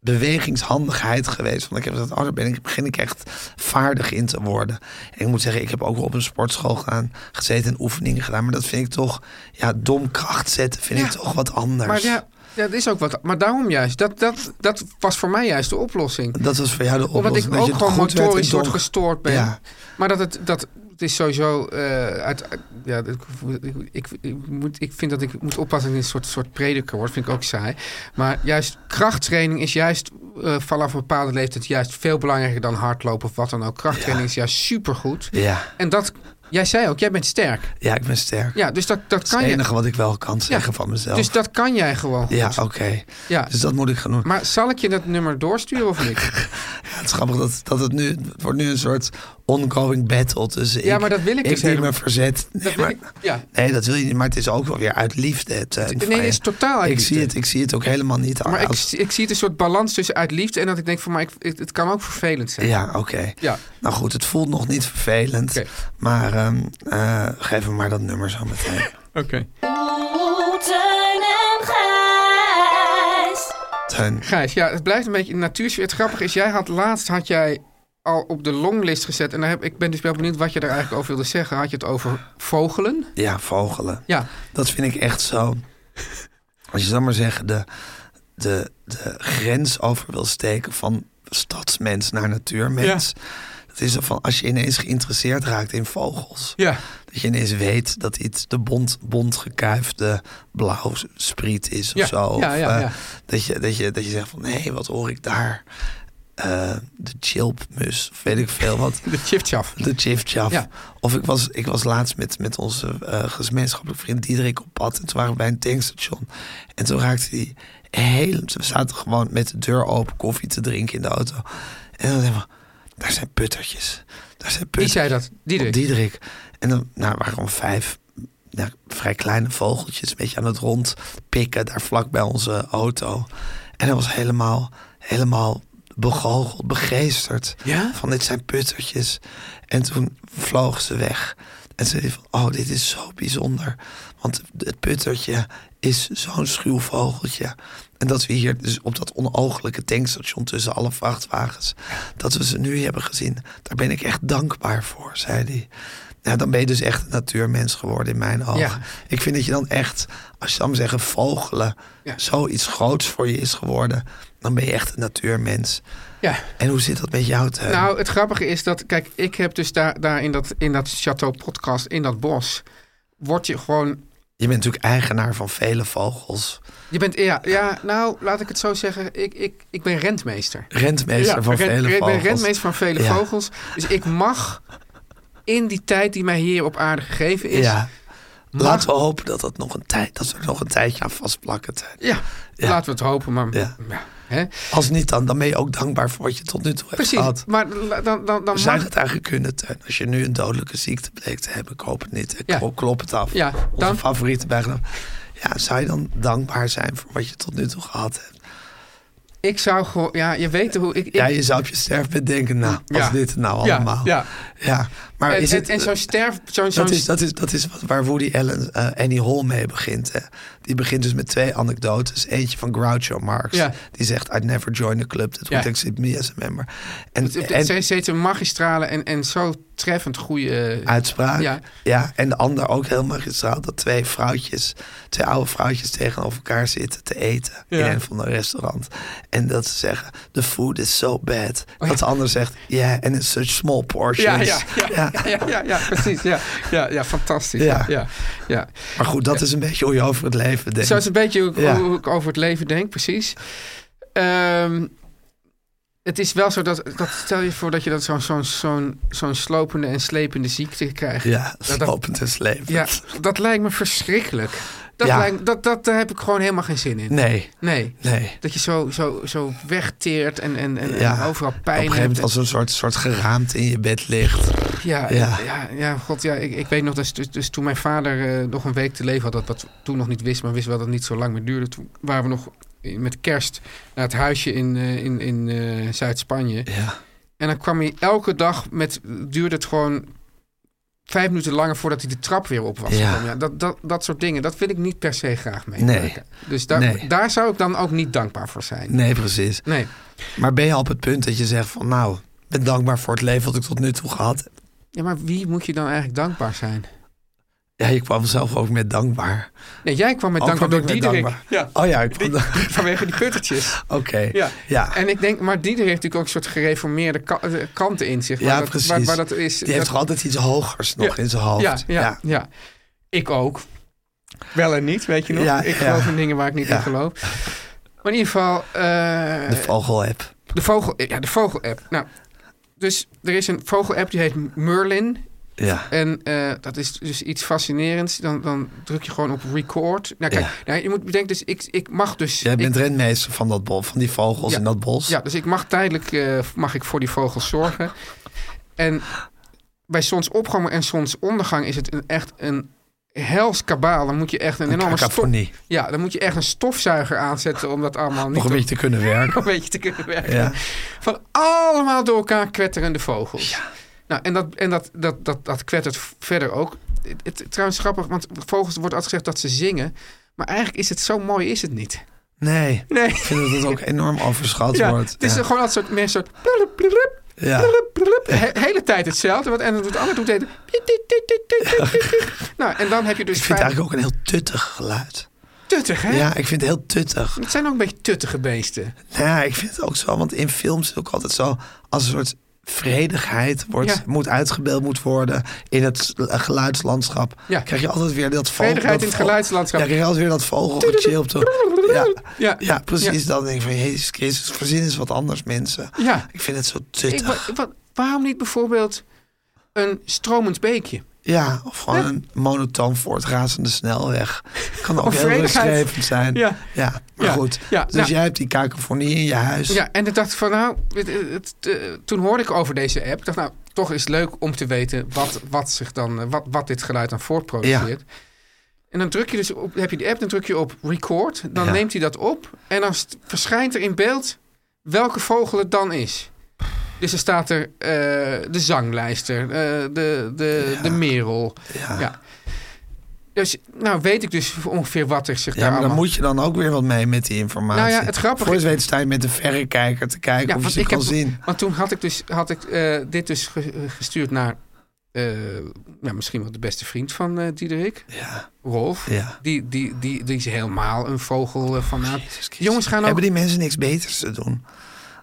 S5: bewegingshandigheid geweest. Want ik heb gezegd, oh, daar ben ik, begin ik echt vaardig in te worden. En ik moet zeggen, ik heb ook wel op een sportschool gedaan, gezeten en oefeningen gedaan. Maar dat vind ik toch, ja, dom kracht zetten vind
S4: Ja.
S5: ik toch wat anders.
S4: Maar ja, ja, dat is ook wat. Maar daarom juist. Dat, dat, dat was voor mij juist de oplossing.
S5: Dat was voor jou de
S4: Omdat
S5: oplossing.
S4: ik
S5: dat je
S4: ook gewoon
S5: goed werd in
S4: motorisch soort
S5: dom-
S4: gestoord ben.
S5: Ja.
S4: Maar dat het, dat, het is sowieso... eh, uit, uit- ja, dat- ik, ik, ik moet, ik vind dat ik moet oppassen dat ik een soort, soort prediker word. vind ik ook saai. Maar juist krachttraining is juist eh, vanaf een bepaalde leeftijd... juist veel belangrijker dan hardlopen of wat dan ook. Krachttraining is juist supergoed.
S5: Ja.
S4: En dat... Jij zei ook, jij bent sterk.
S5: ja, ik ben sterk.
S4: Ja, dus dat, dat
S5: dat is
S4: kan
S5: het
S4: je.
S5: enige wat ik wel kan zeggen van mezelf.
S4: Dus dat kan jij gewoon.
S5: ja,
S4: goed.
S5: oké.
S4: Ja.
S5: Dus dat moet ik gaan doen.
S4: Maar zal ik je dat nummer doorsturen of niet?
S5: Het is grappig dat, dat het nu... Het wordt nu een soort ongoing battle tussen
S4: Ja,
S5: ik...
S4: maar dat wil ik dus
S5: die
S4: helemaal-
S5: me verzet. Nee,
S4: Dat wil
S5: maar,
S4: ik- ja.
S5: nee, dat wil je niet. Maar het is ook wel weer uit liefde. Het, eh, van
S4: nee, het is
S5: je.
S4: totaal uit
S5: ik
S4: liefde.
S5: zie het, Ik zie het ook helemaal niet
S4: Maar ik,
S5: als-
S4: zie- ik zie het een soort balans tussen uit liefde en dat ik denk van, maar ik, het, het kan ook vervelend zijn.
S5: Ja, oké.
S4: Ja.
S5: Nou goed, het voelt nog niet vervelend.
S4: Oké.
S5: Maar ehm, eh, geef hem maar dat nummer
S4: [LAUGHS]
S5: zo meteen.
S4: Oké.
S7: Oeh, Oh, Teun en Gijs.
S5: Teun,
S4: Gijs, ja, het blijft een beetje een natuursfeer. Het grappige is, jij had laatst had jij al op de longlist gezet en daar heb, ik ben dus wel benieuwd wat je daar eigenlijk over wilde zeggen. Had je het over vogelen?
S5: ja, vogelen.
S4: Ja.
S5: Dat vind ik echt zo. Als je zo maar zeggen, de, de, de grens over wil steken van stadsmens naar natuurmens. Dat is er van als je ineens geïnteresseerd raakt in vogels.
S4: Ja.
S5: Dat je ineens weet dat iets de bont, bont gekuifde blauw spriet is of
S4: Ja,
S5: zo. Of,
S4: ja, ja,
S5: eh,
S4: ja.
S5: dat, je, dat, je, dat je zegt van, hé, wat hoor ik daar? Eh, de chilpmus, of weet ik veel wat.
S4: De chipchaf.
S5: De chifchaf.
S4: Ja.
S5: Of ik was, ik was laatst met, met onze eh, gemeenschappelijke vriend Diederik op pad. En toen waren we bij een tankstation. En toen raakte hij heel... We zaten gewoon met de deur open koffie te drinken in de auto. En dan dacht ik, daar zijn puttertjes. Daar zijn puttertjes.
S4: zei dat? Diederik?
S5: Op Diederik. En dan nou, er waren gewoon vijf nou, vrij kleine vogeltjes... een beetje aan het rondpikken daar vlak bij onze auto. En hij was helemaal, helemaal begoocheld, begeesterd.
S4: Ja?
S5: Van dit zijn puttertjes. En toen vloog ze weg. En ze zei van, oh, dit is zo bijzonder. Want het puttertje is zo'n schuw vogeltje. En dat we hier dus op dat onooglijke tankstation tussen alle vrachtwagens... dat we ze nu hebben gezien, daar ben ik echt dankbaar voor, zei hij. Nou, dan ben je dus echt een natuurmens geworden in mijn ogen.
S4: Ja.
S5: Ik vind dat je dan echt, als je dan maar zeggen vogelen...
S4: Ja.
S5: zoiets groots voor je is geworden... dan ben je echt een natuurmens.
S4: Ja.
S5: En hoe zit dat met jou, Teun?
S4: Nou, het grappige is dat, kijk, ik heb dus daar, daar in, dat, in dat Chateau Podcast, in dat bos, word je gewoon
S5: Je bent natuurlijk eigenaar van vele vogels.
S4: Je bent, ja, ja, nou, laat ik het zo zeggen. Ik, ik, ik ben rentmeester.
S5: Rentmeester
S4: Ja,
S5: van
S4: ren-
S5: vele
S4: Ik ben
S5: vogels.
S4: rentmeester van vele
S5: Ja.
S4: vogels. Dus ik mag in die tijd die mij hier op aarde gegeven is...
S5: Ja.
S4: mag-
S5: Laten we hopen dat, dat, nog een tijd, dat we er nog een tijdje aan vastplakken. Teun.
S4: ja,
S5: Ja.
S4: laten we het hopen. Maar,
S5: Ja.
S4: ja. hè?
S5: Als niet dan, dan ben je ook dankbaar voor wat je tot nu toe hebt
S4: Precies,
S5: gehad.
S4: maar la- dan, dan, dan
S5: Zou
S4: mag...
S5: het eigenlijk kunnen, Teun? Als je nu een dodelijke ziekte bleek te hebben, ik hoop het niet. Ik
S4: Ja.
S5: klop- klop het af.
S4: Ja,
S5: Onze
S4: dan-
S5: favoriete bijgenaam. Ja, zou je dan dankbaar zijn voor wat je tot nu toe gehad hebt?
S4: Ik zou gewoon... Ja, je weet hoe ik... ik
S5: Ja, je zou op je sterfbed denken, nou, was
S4: Ja.
S5: dit nou
S4: Ja,
S5: allemaal?
S4: ja.
S5: Ja, maar
S4: en,
S5: is
S4: en-
S5: het...
S4: en zo'n sterf... Zo'n, zo'n,
S5: Dat is, dat, is, dat is wat- waar Woody Allen eh, Annie Hall mee begint. Hè. Die begint dus met twee anekdotes. Eentje van Groucho Marx.
S4: Ja.
S5: Die zegt, I'd never join a club
S4: Ja.
S5: that would accept me as a member. En,
S4: het-
S5: en
S4: het- ze- ze heeft een magistrale en, en zo treffend goede...
S5: uitspraak. Ja.
S4: Ja.
S5: en de ander ook heel magistraal. Dat twee vrouwtjes, twee oude vrouwtjes tegenover elkaar zitten te eten.
S4: Ja.
S5: In een van de restaurant. En dat ze zeggen, the food is so bad. Dat de ander zegt, yeah, and it's such small
S4: ja,
S5: portions.
S4: Oh ja, ja, ja, ja, ja, ja, precies. Ja, ja, ja fantastisch.
S5: Ja.
S4: ja, ja.
S5: Maar goed, dat is een beetje hoe je over het leven denkt.
S4: Zo is een beetje hoe, ik-
S5: Ja.
S4: hoe ik over het leven denk, precies. Ehm, het is wel zo dat, dat stel je voor dat je dat zo'n zo'n zo'n zo'n slopende en slepende ziekte krijgt.
S5: Ja,
S4: dat-
S5: slopend en slepend.
S4: Ja, dat lijkt me verschrikkelijk. Dat
S5: Ja.
S4: lijkt, dat, dat, daar heb ik gewoon helemaal geen zin in.
S5: Nee,
S4: Nee.
S5: nee.
S4: Dat je zo, zo, zo wegteert en, en, en, en
S5: Ja,
S4: overal
S5: Op een
S4: pijn
S5: gegeven moment
S4: hebt.
S5: als een soort, soort geraamd in je bed ligt.
S4: Ja,
S5: Ja.
S4: ja. ja, god, ja, ik, ik weet nog, dus, dus, dus toen mijn vader eh, nog een week te leven had, dat wat toen nog niet wist, maar wist wel dat het niet zo lang meer duurde. Toen waren we nog in- met kerst naar het huisje in, eh, in, in eh, Zuid-Spanje.
S5: Ja.
S4: En dan kwam hij elke dag met, duurde het gewoon vijf minuten langer voordat hij de trap weer op was.
S5: Ja.
S4: gekomen. dat, dat, dat soort dingen, dat wil ik niet per se graag mee.
S5: Nee.
S4: Dus daar,
S5: Nee.
S4: daar zou ik dan ook niet dankbaar voor zijn.
S5: Nee, precies.
S4: Nee.
S5: Maar ben je al op het punt dat je zegt van nou, ik ben dankbaar voor het leven wat ik tot nu toe gehad heb?
S4: Ja, maar wie moet je dan eigenlijk dankbaar zijn?
S5: Ja, je kwam zelf ook met dankbaar.
S4: Nee, jij kwam met
S5: Oh,
S4: dankbaar
S5: kwam
S4: door
S5: ik met
S4: Diederik.
S5: dankbaar.
S4: Ja.
S5: Oh [LAUGHS] ja, ik kwam
S4: Die-
S5: dan-
S4: vanwege die puttertjes.
S5: Oké.
S4: Ja.
S5: ja.
S4: En ik denk, maar Diederik heeft natuurlijk ook een soort gereformeerde ka- eh, kanten in zich. Waar
S5: ja,
S4: dat,
S5: precies.
S4: Waar, waar dat is,
S5: Die heeft
S4: dat-
S5: toch altijd iets hogers nog
S4: Ja,
S5: in zijn hoofd.
S4: Ja, ja, ja, Ik ook. Wel en niet, weet je nog.
S5: Ja,
S4: ik
S5: ja.
S4: geloof in dingen waar ik niet
S5: Ja.
S4: in geloof. Maar in ieder geval, eh,
S5: De vogel-app.
S4: de, vogel, ja, de vogel-app. Nou, dus er is een vogel-app die heet Merlin.
S5: Ja.
S4: En eh, dat is dus iets fascinerends. Dan, dan druk je gewoon op record. Nou, kijk,
S5: Ja.
S4: nou, je moet bedenken, dus ik, ik mag dus...
S5: Jij
S4: ik-
S5: bent renmeester van, dat bos, van die vogels
S4: Ja.
S5: in dat bos.
S4: Ja, dus ik mag tijdelijk eh, mag ik voor die vogels zorgen. En bij zonsopgang en zonsondergang is het een, echt een hels kabaal. Dan moet je echt een, enorme stof,
S5: Cacophonie.
S4: ja, dan moet je echt een stofzuiger aanzetten om dat allemaal niet
S5: Nog een beetje te kunnen werken.
S4: een [LAUGHS] beetje te kunnen werken.
S5: Ja.
S4: Van allemaal door elkaar kwetterende vogels. Nou, en dat, en dat, dat, dat, dat kwettert verder ook. Het- Het, trouwens grappig, want vogels wordt altijd gezegd dat ze zingen. Maar eigenlijk is het zo mooi is het niet.
S5: Nee.
S4: Nee.
S5: Ik vind dat het ook enorm
S4: [LAUGHS]
S5: overschat
S4: Ja,
S5: wordt.
S4: het is
S5: ja.
S4: gewoon altijd soort, meer een soort... plurup, plurup,
S5: Ja.
S4: plurup, plurup. He- hele tijd hetzelfde. Want, en dan doet de ander doet het... tiet, tiet, tiet, tiet, tiet, tiet, tiet, tiet. Nou, en dan heb je dus
S5: Ik vind het
S4: vijf...
S5: eigenlijk ook een heel tuttig geluid.
S4: Tuttig, hè?
S5: Ja, ik vind het heel tuttig.
S4: Het zijn ook een beetje tuttige beesten.
S5: Nou Ja, ik vind het ook zo, want in films is het ook altijd zo als een soort vredigheid wordt,
S4: Ja.
S5: moet uitgebeeld moet worden in het eh, geluidslandschap.
S4: Ja.
S5: Krijg je altijd weer dat vogel.
S4: Vredigheid
S5: dat
S4: in het
S5: vogel-
S4: geluidslandschap.
S5: Ja, krijg je altijd weer dat vogeltje op de. Ja, ja. precies. Dan denk ik van Jezus Christus, verzin eens wat anders, mensen.
S4: Ja.
S5: Ik vind het zo
S4: Ik,
S5: tuttig.
S4: wa- wa- waarom niet bijvoorbeeld een stromend beekje?
S5: Ja, of gewoon een monotoon voortrazende snelweg. Kan ook
S4: Of
S5: heel
S4: vredigheid.
S5: rustgevend zijn.
S4: Ja.
S5: maar
S4: Ja.
S5: goed.
S4: Ja,
S5: Dus
S4: nou.
S5: jij hebt die kakofonie in je huis.
S4: Ja, en ik dacht van nou, het, het- het, eh, toen hoorde ik over deze app. Ik dacht nou, toch is het leuk om te weten wat, wat, zich dan, eh, wat, wat dit geluid dan voortproduceert. En dan druk je dus op, heb je die app, dan druk je op record. Dan
S5: Ja.
S4: neemt hij dat op en dan st- verschijnt er in beeld welke vogel het dan is. Dus er staat er eh, de zanglijster, eh, de, de, de merel.
S5: Ja.
S4: Ja. Dus nou weet ik dus ongeveer wat er zich
S5: Ja,
S4: daar
S5: maar dan
S4: allemaal-
S5: moet je dan ook weer wat mee met die informatie.
S4: Nou ja, het grappige-
S5: Voor je het weet sta je met een verrekijker te kijken of je ze kan
S4: heb,
S5: zien.
S4: Want toen had ik, dus, had ik eh, dit dus ge- eh, gestuurd naar eh, ja, misschien wel de beste vriend van eh Diederik,
S5: Ja,
S4: Rolf.
S5: ja.
S4: Die, die, die, die is helemaal een vogel eh, fanaat. jongens gaan ook.
S5: Hebben die mensen niks beters te doen?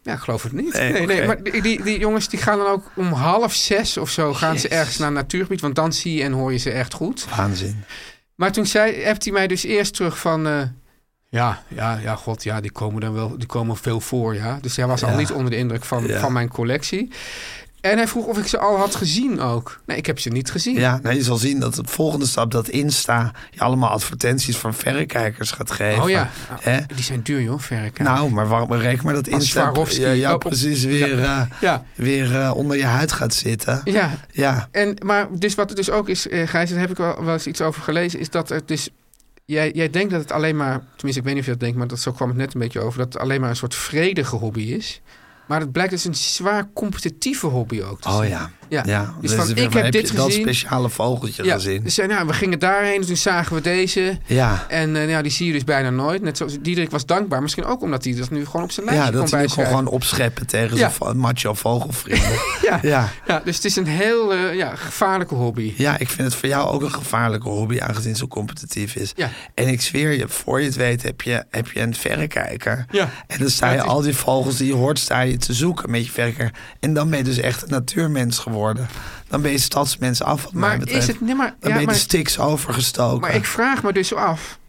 S4: Ja, ik geloof het niet.
S5: Nee,
S4: Nee, nee,
S5: oké.
S4: maar die, die, die jongens die gaan dan ook om half zes of zo gaan ze ergens naar een natuurgebied. Want dan zie je en hoor je ze echt goed.
S5: Waanzin.
S4: Maar toen zei, appt hij mij dus eerst terug van. eh, ja, ja, ja, god, ja, die komen dan wel, die komen veel voor, ja. Dus hij was
S5: Ja.
S4: al niet onder de indruk van,
S5: Ja.
S4: van mijn collectie. En hij vroeg of ik ze al had gezien ook. Nee, ik heb ze niet gezien.
S5: Ja, nou, je zal zien dat de volgende stap, dat Insta, je allemaal advertenties van verrekijkers gaat geven.
S4: oh ja,
S5: Hè?
S4: die zijn duur, joh, verrekijker.
S5: Nou, maar waarom reken maar dat
S4: Als
S5: Insta
S4: Swarovski.
S5: ja, ja,
S4: Oh, op-
S5: precies weer, eh,
S4: Ja.
S5: weer eh, onder je huid gaat zitten.
S4: ja,
S5: Ja,
S4: En, maar dus wat het dus ook is, eh, Gijs, daar heb ik wel, wel eens iets over gelezen, is dat het dus... Jij, jij denkt dat het alleen maar, tenminste ik weet niet of je dat denkt, maar dat, zo kwam het net een beetje over, dat het alleen maar een soort vredige hobby is. Maar het blijkt dus een zwaar competitieve hobby ook te
S5: oh
S4: zijn.
S5: ja.
S4: Ja.
S5: ja.
S4: Dus
S5: dan
S4: van,
S5: is er weer-
S4: ik
S5: maar
S4: heb dit
S5: je dat
S4: gezien.
S5: speciale vogeltje
S4: Ja,
S5: gezien.
S4: dus eh, nou, we gingen daarheen, toen zagen we deze.
S5: ja.
S4: En eh, nou, die zie je dus bijna nooit. Net zoals Diederik was dankbaar. Misschien ook omdat hij dat nu gewoon op zijn lijstje
S5: Ja,
S4: kon
S5: dat hij nu kon
S4: bijschrijven.
S5: gewoon opscheppen tegen
S4: Ja.
S5: zijn vo- macho vogelvrienden. [LAUGHS]
S4: Ja.
S5: ja.
S4: Ja, dus het is een heel eh, ja, gevaarlijke hobby.
S5: Ja, ik vind het voor jou ook een gevaarlijke hobby, aangezien het zo competitief is.
S4: Ja.
S5: En ik zweer je, voor je het weet heb je, heb je een verrekijker.
S4: Ja.
S5: En dan sta
S4: Ja,
S5: je
S4: het is-
S5: al die vogels die je hoort, sta je te zoeken met je verrekijker. En dan ben je dus echt een natuurmens geworden. Dan ben je stadsmens af, wat mij
S4: Maar
S5: betreft.
S4: is het- nee, maar- ja,
S5: dan ben je
S4: maar-
S5: de stiks overgestoken.
S4: Maar ik vraag me dus af.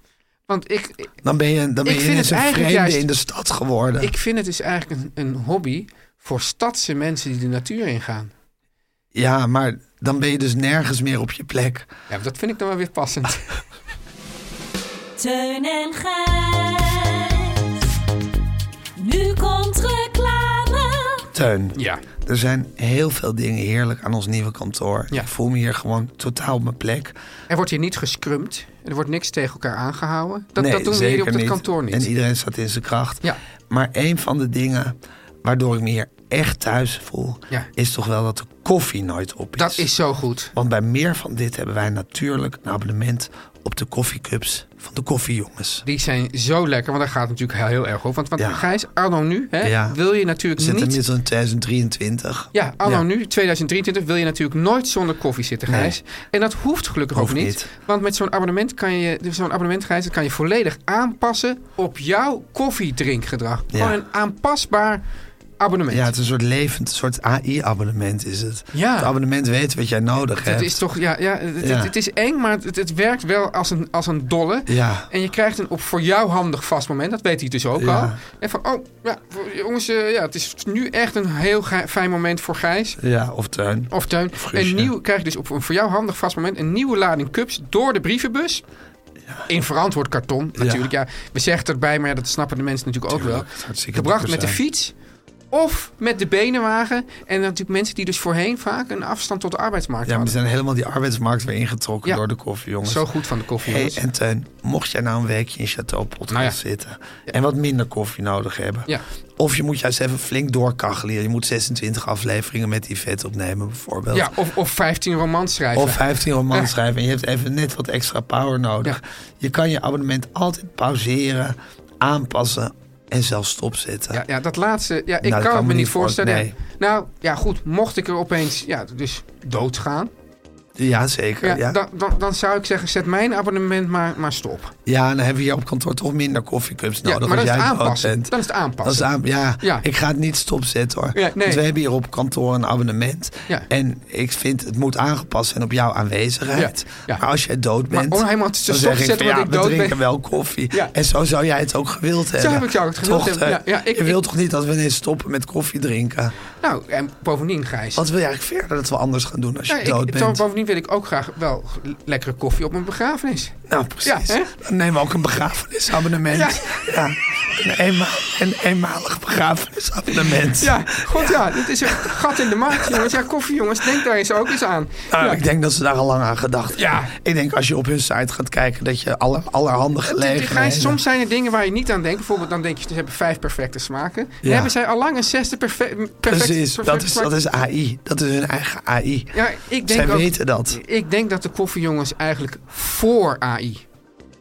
S4: Want ik,
S5: dan ben je, dan ben
S4: ik
S5: je
S4: vind
S5: ineens
S4: het
S5: een vreemde
S4: eigenlijk juist-
S5: in de stad geworden.
S4: Ik vind het dus eigenlijk een, een hobby voor stadse mensen die de natuur ingaan.
S5: Ja, maar dan ben je dus nergens meer op je plek.
S4: Ja, dat vind ik dan wel weer
S5: [LAUGHS]
S4: passend.
S7: Teun en Gijs. Nu komt reclame.
S5: Teun,
S4: ja.
S5: Er zijn heel veel dingen heerlijk aan ons nieuwe kantoor.
S4: Ja.
S5: Ik voel me hier gewoon totaal op mijn plek.
S4: Er wordt hier niet gescrumpt. Er wordt niks tegen elkaar aangehouden. Dat,
S5: Nee,
S4: dat doen we
S5: zeker
S4: hier op het
S5: niet.
S4: kantoor niet.
S5: En iedereen staat in zijn kracht.
S4: Ja.
S5: Maar een van de dingen waardoor ik me hier echt thuis voel...
S4: Ja.
S5: is toch wel dat de koffie nooit op is.
S4: Dat is zo goed.
S5: Want bij meer van dit hebben wij natuurlijk een abonnement op de koffiecups van de koffiejongens.
S4: Die zijn zo lekker, want daar gaat het natuurlijk heel, heel erg op. Want, want
S5: Ja.
S4: Gijs, anno nu, hè,
S5: Ja.
S4: wil je
S5: We
S4: natuurlijk
S5: zitten
S4: niet...
S5: inmiddels in 2023.
S4: Ja, anno
S5: Ja.
S4: nu, 2023, wil je natuurlijk nooit zonder koffie zitten, Gijs. En dat hoeft gelukkig
S5: Hoeft
S4: ook niet,
S5: niet.
S4: Want met zo'n abonnement kan je, zo'n abonnement, Gijs, dat kan je volledig aanpassen op jouw koffiedrinkgedrag.
S5: Ja.
S4: Gewoon een aanpasbaar abonnement.
S5: Ja, het is een soort levend, een soort AI-abonnement is het.
S4: Ja.
S5: Het abonnement weet wat jij nodig
S4: het
S5: hebt.
S4: is toch, ja, ja, het, het-
S5: Ja.
S4: het is eng, maar het, het werkt wel als een, als een dolle.
S5: Ja.
S4: En je krijgt een op voor jou handig vast moment. Dat weet hij dus ook
S5: Ja.
S4: al. En van, oh, ja, voor- jongens, eh, ja, het is nu echt een heel gij- fijn moment voor Gijs.
S5: Ja, of tuin.
S4: Of Teun.
S5: Guusje.
S4: Een nieuw, krijg je dus op een voor jou handig vast moment een nieuwe lading cups door de brievenbus. In verantwoord karton, natuurlijk. Ja. we zeggen erbij, maar ja, dat snappen de mensen natuurlijk ook
S5: Tuurlijk, het is
S4: wel.
S5: hartstikke
S4: Gebracht
S5: lekker
S4: met de
S5: zijn.
S4: fiets of met de benenwagen. En dan natuurlijk mensen die dus voorheen vaak een afstand tot de arbeidsmarkt
S5: Ja, maar die
S4: hadden.
S5: zijn helemaal die arbeidsmarkt weer ingetrokken
S4: Ja.
S5: door de koffiejongens.
S4: Zo goed van de koffie,
S5: Hey,
S4: jongens.
S5: en Teun, mocht jij nou een weekje in Chateau Podcast
S4: Nou ja.
S5: zitten en wat minder koffie nodig hebben.
S4: Ja.
S5: Of je moet juist even flink doorkachelen. Je moet 26 afleveringen met die vet opnemen bijvoorbeeld.
S4: Ja, of, of 15 romans schrijven.
S5: Of 15 roman
S4: [LAUGHS] Ja.
S5: schrijven en je hebt even net wat extra power nodig.
S4: Ja.
S5: Je kan je abonnement altijd pauzeren, aanpassen en zelfs stopzetten.
S4: Ja, ja, dat laatste, ja, ik
S5: Nou,
S4: kan het me niet voorstellen.
S5: Nee.
S4: Nou, ja, goed, mocht ik er opeens ja, dus doodgaan,
S5: Ja, zeker.
S4: ja,
S5: Ja, ja.
S4: Dan, dan, dan zou ik zeggen, zet mijn abonnement maar, maar stop.
S5: dan hebben we hier op kantoor toch minder koffiecups
S4: Ja,
S5: nodig.
S4: maar dat
S5: als
S4: is,
S5: Nou, jij dood
S4: aanpassen.
S5: bent.
S4: dat is het aanpassen.
S5: Dat is aan, ja,
S4: Ja.
S5: ik ga het niet stopzetten hoor.
S4: Ja, nee.
S5: Want we hebben hier op kantoor een abonnement.
S4: Ja.
S5: En ik vind het moet aangepast zijn op jouw aanwezigheid.
S4: Ja, ja.
S5: Maar als jij dood bent,
S4: om helemaal te
S5: dan zeg ik,
S4: stopzetten
S5: van,
S4: dat
S5: ja,
S4: ik
S5: we
S4: dood
S5: drinken
S4: ben.
S5: wel koffie.
S4: Ja.
S5: En zo zou jij het ook gewild hebben.
S4: heb ik jou het gewild
S5: Toch,
S4: hebben.
S5: eh,
S4: Ja, ja, ik-
S5: je wilt
S4: ik-
S5: toch niet dat we ineens stoppen met koffie drinken?
S4: Nou, en bovendien, Gijs.
S5: Wat wil je eigenlijk verder dat we anders gaan doen als je
S4: Ja, ik-
S5: dood
S4: zo-
S5: bent?
S4: bovendien wil ik ook graag wel le- lekkere koffie op mijn
S5: [LAUGHS]
S4: begrafenis.
S5: Nou, precies.
S4: Ja, hè?
S5: dan nemen we ook een begrafenisabonnement.
S4: Ja.
S5: Ja. Een, eenma een eenmalig begrafenisabonnement.
S4: Ja, god ja, dit is een gat in de markt, jongens. Ja, koffie, jongens, denk daar eens ook eens aan.
S5: Nou,
S4: Ja.
S5: Ik denk dat ze daar al lang aan gedacht hebben.
S4: Ja.
S5: Ik denk als je op hun site gaat kijken dat je alle, allerhande
S4: Gijs,
S5: gelegenheden...
S4: soms zijn er dingen waar je niet aan denkt. Bijvoorbeeld, dan denk je, ze hebben vijf perfecte smaken. Dan
S5: Ja.
S4: hebben zij allang een zesde perfe- perfect, perfecte
S5: Precies, dat is,
S4: smaak.
S5: dat is AI. Dat is hun eigen AI.
S4: Ja, ik denk
S5: Zij
S4: ook-
S5: weten dat.
S4: Ik denk dat de koffiejongens eigenlijk voor AI.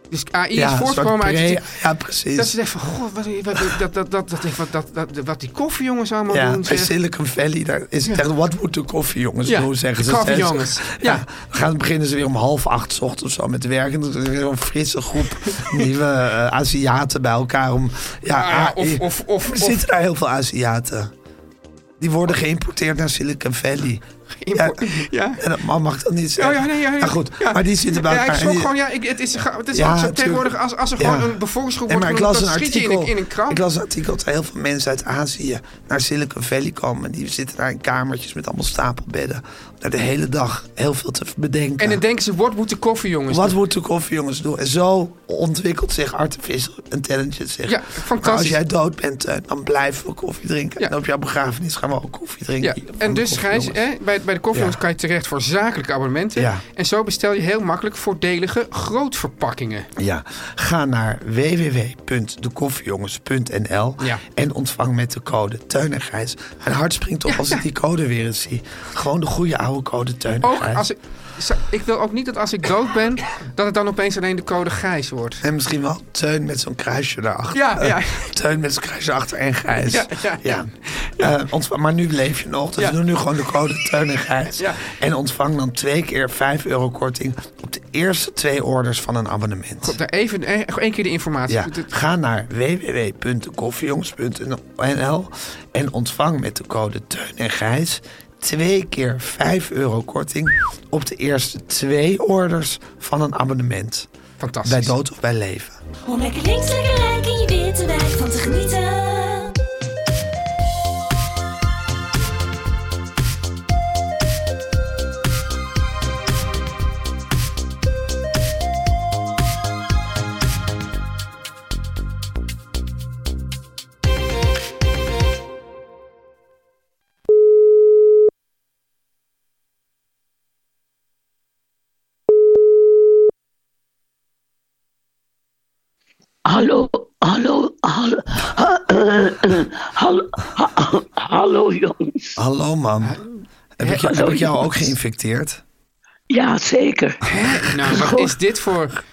S4: Dus AI
S5: Ja,
S4: is
S5: een soort
S4: voortgekomen uit...
S5: pre-
S4: het-
S5: Ja, precies.
S4: Dat ze zeggen van, goh, wat, wat, dat, dat, dat, dat, wat, dat, dat, wat die koffiejongens allemaal
S5: ja,
S4: doen.
S5: bij
S4: zeg.
S5: Silicon Valley, daar is het echt, wat moet de koffiejongens
S4: Ja,
S5: doen, zeggen ze.
S4: koffiejongens,
S5: Ze-
S4: ja.
S5: dan gaan, beginnen ze weer om half acht 's ochtends of zo met werken. Dan is er weer een frisse
S4: [LAUGHS]
S5: groep nieuwe eh, Aziaten bij elkaar. Om, ja,
S4: Ah, ja,
S5: AI.
S4: of, of, of,
S5: er
S4: of
S5: zitten daar heel veel Aziaten. Die worden geïmporteerd naar Silicon Valley.
S4: import- ja.
S5: En dat man mag dat niet
S4: Oh
S5: zeggen.
S4: ja, nee, ja, ja.
S5: Nou goed,
S4: Ja.
S5: maar die zitten bij
S4: Ja,
S5: elkaar.
S4: ik
S5: en
S4: schrok
S5: die-
S4: gewoon, ja, ik, het is, het is
S5: Ja,
S4: zo
S5: natuurlijk.
S4: tegenwoordig als, als er gewoon
S5: Ja.
S4: een bevolkingsgroep
S5: En
S4: wordt
S5: maar ik
S4: genoemd,
S5: las
S4: dan
S5: een
S4: schiet je in
S5: artikel.
S4: een, in een kramp.
S5: Ik las een artikel dat heel veel mensen uit Azië naar Silicon Valley komen. Die zitten daar in kamertjes met allemaal stapelbedden. Om daar de hele dag heel veel te bedenken.
S4: En dan denken ze, wat moet de koffiejongens
S5: Wat moet de koffiejongens doen? En zo ontwikkelt zich artificial intelligence. Zich.
S4: Ja,
S5: Maar als
S4: fantastisch.
S5: jij dood bent, eh, dan blijven we koffie drinken.
S4: Ja.
S5: En op jouw begrafenis gaan we ook koffie
S4: Ja,
S5: drinken. Van
S4: en
S5: de
S4: dus Gijs,
S5: koffiejongens.
S4: hè, bij, bij de koffiejongens
S5: Ja.
S4: kan je terecht voor zakelijke abonnementen.
S5: Ja.
S4: En zo bestel je heel makkelijk voordelige grootverpakkingen.
S5: Ja, ga naar www.dekoffiejongens.nl
S4: Ja.
S5: en ontvang met de code Teun en Gijs. Mijn hart springt op als ik die code weer eens zie. Gewoon de goede oude code Teun en
S4: Ook
S5: Gijs.
S4: als ik, zo- ik wil ook niet dat als ik dood ben, dat het dan opeens alleen de code Gijs wordt.
S5: En misschien wel Teun met zo'n kruisje erachter.
S4: Ja, ja.
S5: Eh, [LAUGHS] Teun met zo'n kruisje achter en Gijs.
S4: Ja, ja, ja.
S5: Eh, ontvang- maar nu leef je nog, dus
S4: Ja.
S5: doe nu gewoon de code Teun en Gijs.
S4: Ja.
S5: En ontvang dan twee keer 5 euro korting op de eerste twee orders van een abonnement.
S4: Goed, daar Even eh, één keer de informatie.
S5: Ja,
S4: Het- het-
S5: ga naar www.koffiejongens.nl en ontvang met de code Teun en Gijs twee keer 5 euro korting op de eerste twee orders van een abonnement.
S4: Fantastisch.
S5: Bij dood of bij leven.
S7: Om lekker links, lekker rijk in je witte wijk van te genieten.
S3: Hallo, hallo, hallo, hallo, hallo, hallo jongens.
S5: Hallo mam. Heb, ik, jou-
S3: Hallo,
S5: heb ik jou
S3: jongens.
S5: ook geïnfecteerd?
S3: Ja, zeker.
S4: Hè? Nou, wat is dit voor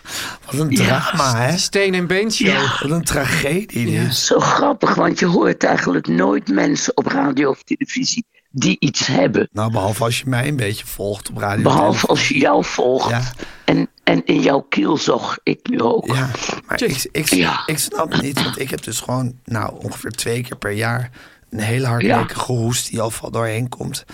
S5: Wat een drama, hè?
S4: steen- en beenshow?
S5: Wat een tragedie dit.
S3: Zo grappig, want je hoort eigenlijk nooit mensen op radio of televisie die iets hebben.
S5: Nou, behalve als je mij een beetje volgt op radio.
S3: Behalve als je jou volgt
S5: Ja.
S3: en, en in jouw kiel zog ik nu ook.
S5: Ja, maar ik, ik,
S3: Ja.
S5: ik snap het niet, want ik heb dus gewoon nou, ongeveer twee keer per jaar een hele hardnekkige hoest die overal doorheen komt.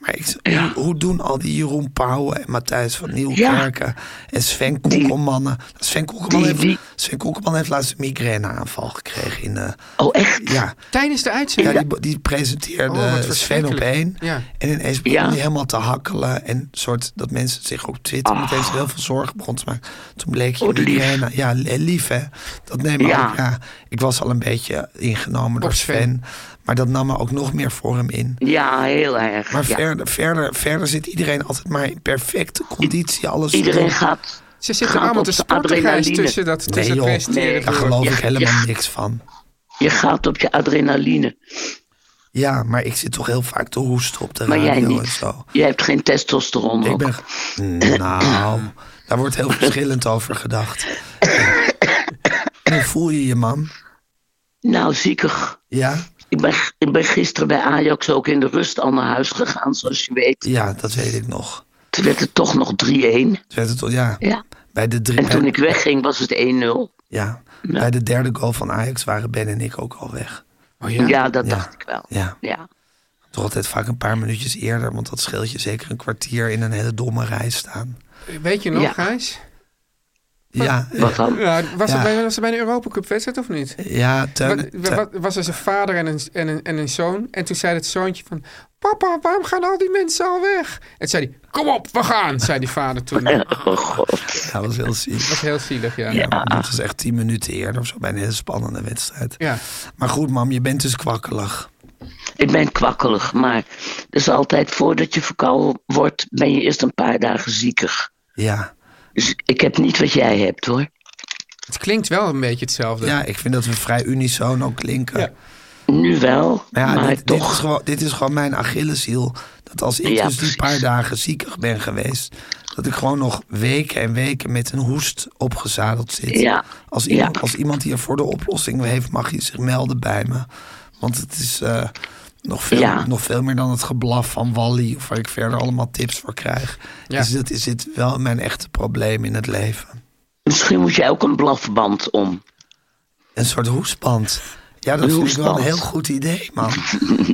S5: Maar ik,
S3: Ja.
S5: hoe, hoe doen al die Jeroen Pauwen en Matthijs van Nieuwkerken en Sven Koekelmannen? Nou, Sven Koekelman,
S3: die-
S5: heeft,
S3: die-
S5: Sven Koekelman heeft laatst een migraineaanval gekregen. In, eh,
S3: Oh, echt?
S5: ja,
S4: Tijdens de
S5: ja,
S4: uitzending?
S5: die, die presenteerde
S4: Oh, wat
S5: Sven op
S4: verschrikkelijk.
S5: één.
S4: Ja.
S5: En ineens begon
S3: Ja.
S5: hij helemaal te hakkelen. En soort dat mensen zich op Twitter meteen zo heel veel zorgen begon te maken. Toen bleek je
S3: Ah. Oh, lief.
S5: migraine. Ja, li- lief hè. Dat neem ik
S3: Ja.
S5: ook. Ja, ik was al een beetje ingenomen door
S4: Sven.
S5: Sven. Maar dat nam me ook nog meer voor hem in.
S3: Ja, heel erg.
S5: Maar
S3: ja.
S5: verder, verder, verder zit iedereen altijd maar in perfecte conditie. Alles
S3: Iedereen
S5: doen.
S3: gaat.
S4: Ze zitten
S3: gaat
S4: allemaal
S3: op
S4: te
S3: de
S4: sporten Gijs,
S3: adrenaline.
S4: tussen dat tussen
S5: Nee,
S4: het
S5: joh.
S4: presenteren
S3: Nee.
S5: Daar
S4: door.
S5: geloof ik
S3: Ja,
S5: helemaal
S3: ja.
S5: niks van.
S3: Je gaat op je adrenaline.
S5: Ja, maar ik zit toch heel vaak te hoesten op de
S3: Maar jij
S5: radio en
S3: niet.
S5: zo.
S3: Jij hebt geen testosteron.
S5: Ik
S3: ook.
S5: ben. Nou, daar wordt heel verschillend over gedacht. En hoe voel je je, man?
S3: Nou, ziekig.
S5: Ja?
S3: Ik ben, ik ben gisteren bij Ajax ook in de rust al naar huis gegaan, zoals je weet.
S5: Ja, dat weet ik nog.
S3: Toen werd het toch nog 3-1.
S5: Toen werd het al, ja.
S3: Ja.
S5: Bij de, drie,
S3: En toen
S5: bij-
S3: ik wegging was het 1-0.
S5: ja, bij de derde goal van Ajax waren Ben en ik ook al weg.
S4: Oh
S3: Ja,
S4: ja?
S3: dat
S5: Ja.
S3: dacht ik wel.
S5: Ja,
S3: Ja.
S5: toch altijd vaak een paar minuutjes eerder, want dat scheelt je zeker een kwartier in een hele domme rij staan.
S4: Weet je nog,
S3: Ja.
S4: Gijs?
S5: Ja,
S3: Wat dan?
S4: Ja, was,
S5: Ja.
S4: Het bij, was het bij de Europacup-wedstrijd of niet?
S5: ja, Teun-
S4: Wat-
S5: Teun-
S4: wat- was er zijn vader en een, en, een, en een zoon. En toen zei het zoontje van... Papa, waarom gaan al die mensen al weg? En toen zei hij, kom op, we gaan, zei die vader
S3: [LAUGHS]
S4: toen. Dat
S3: [LAUGHS] Oh god.
S5: ja, dat was heel zielig.
S4: was heel zielig, ja.
S5: Ja, maar dat was echt tien minuten eerder of zo, bij een hele spannende wedstrijd.
S4: Ja.
S5: Maar goed, mam, je bent dus kwakkelig.
S3: Ik ben kwakkelig, maar het is altijd voordat je verkouden wordt, ben je eerst een paar dagen ziekig.
S5: Ja.
S3: Dus ik heb niet wat jij hebt hoor.
S4: Het klinkt wel een beetje hetzelfde.
S5: ja, ik vind dat we vrij unisono klinken.
S4: Ja.
S3: Nu wel,
S5: Maar ja,
S3: maar
S5: dit, dit, is
S3: toch.
S5: gewoon, dit is gewoon mijn Achilleshiel. Dat als ik
S3: Ja,
S5: dus die
S3: precies.
S5: paar dagen ziekig ben geweest... dat ik gewoon nog weken en weken met een hoest opgezadeld zit.
S3: Ja,
S5: Als, iemand,
S3: ja.
S5: als iemand hier voor de oplossing heeft, mag je zich melden bij me. Want het is eh, nog, veel,
S3: Ja.
S5: nog veel meer dan het geblaf van Wally... of waar ik verder allemaal tips voor krijg.
S4: Ja.
S5: Dus dat is dit wel mijn echte probleem in het leven.
S3: Misschien moet jij ook een blafband om.
S5: Een soort hoestband. Ja, dat
S3: Een
S5: vind ik wel een heel
S3: hoestband.
S5: goed idee, man.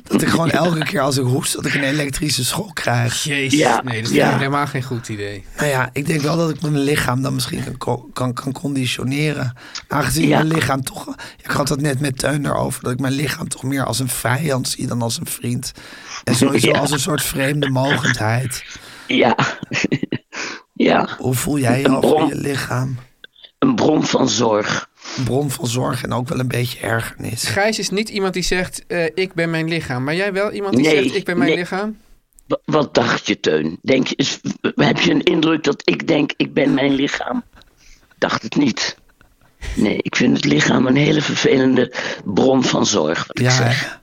S5: Dat ik gewoon elke keer als ik hoest, dat ik een elektrische schok krijg.
S4: Jezus,
S3: Ja,
S4: nee, dat is
S3: ja.
S4: helemaal geen goed idee.
S5: Nou ja, ik denk wel dat ik mijn lichaam dan misschien kan, co- kan, kan conditioneren. Aangezien
S3: Ja.
S5: mijn lichaam toch... Ik had dat net met Teun erover, dat ik mijn lichaam toch meer als een vijand zie dan als een vriend. En sowieso
S3: Ja.
S5: als een soort vreemde mogendheid.
S3: Ja. [LAUGHS] ja,
S5: Hoe voel jij je
S3: Een
S5: over
S3: bron.
S5: je lichaam?
S3: een bron van zorg.
S5: Een bron van zorg en ook wel een beetje ergernis.
S4: Gijs is niet iemand die zegt, eh, ik ben mijn lichaam. Maar jij wel iemand die
S3: Nee,
S4: zegt, ik ben mijn
S3: nee.
S4: lichaam?
S3: Wa- Wat dacht je, Teun? Denk je, is- heb je een indruk dat ik denk, ik ben mijn lichaam? Dacht het niet. Nee, ik vind het lichaam een hele vervelende bron van zorg. Wat ik
S5: Ja,
S3: zeg.
S5: hè?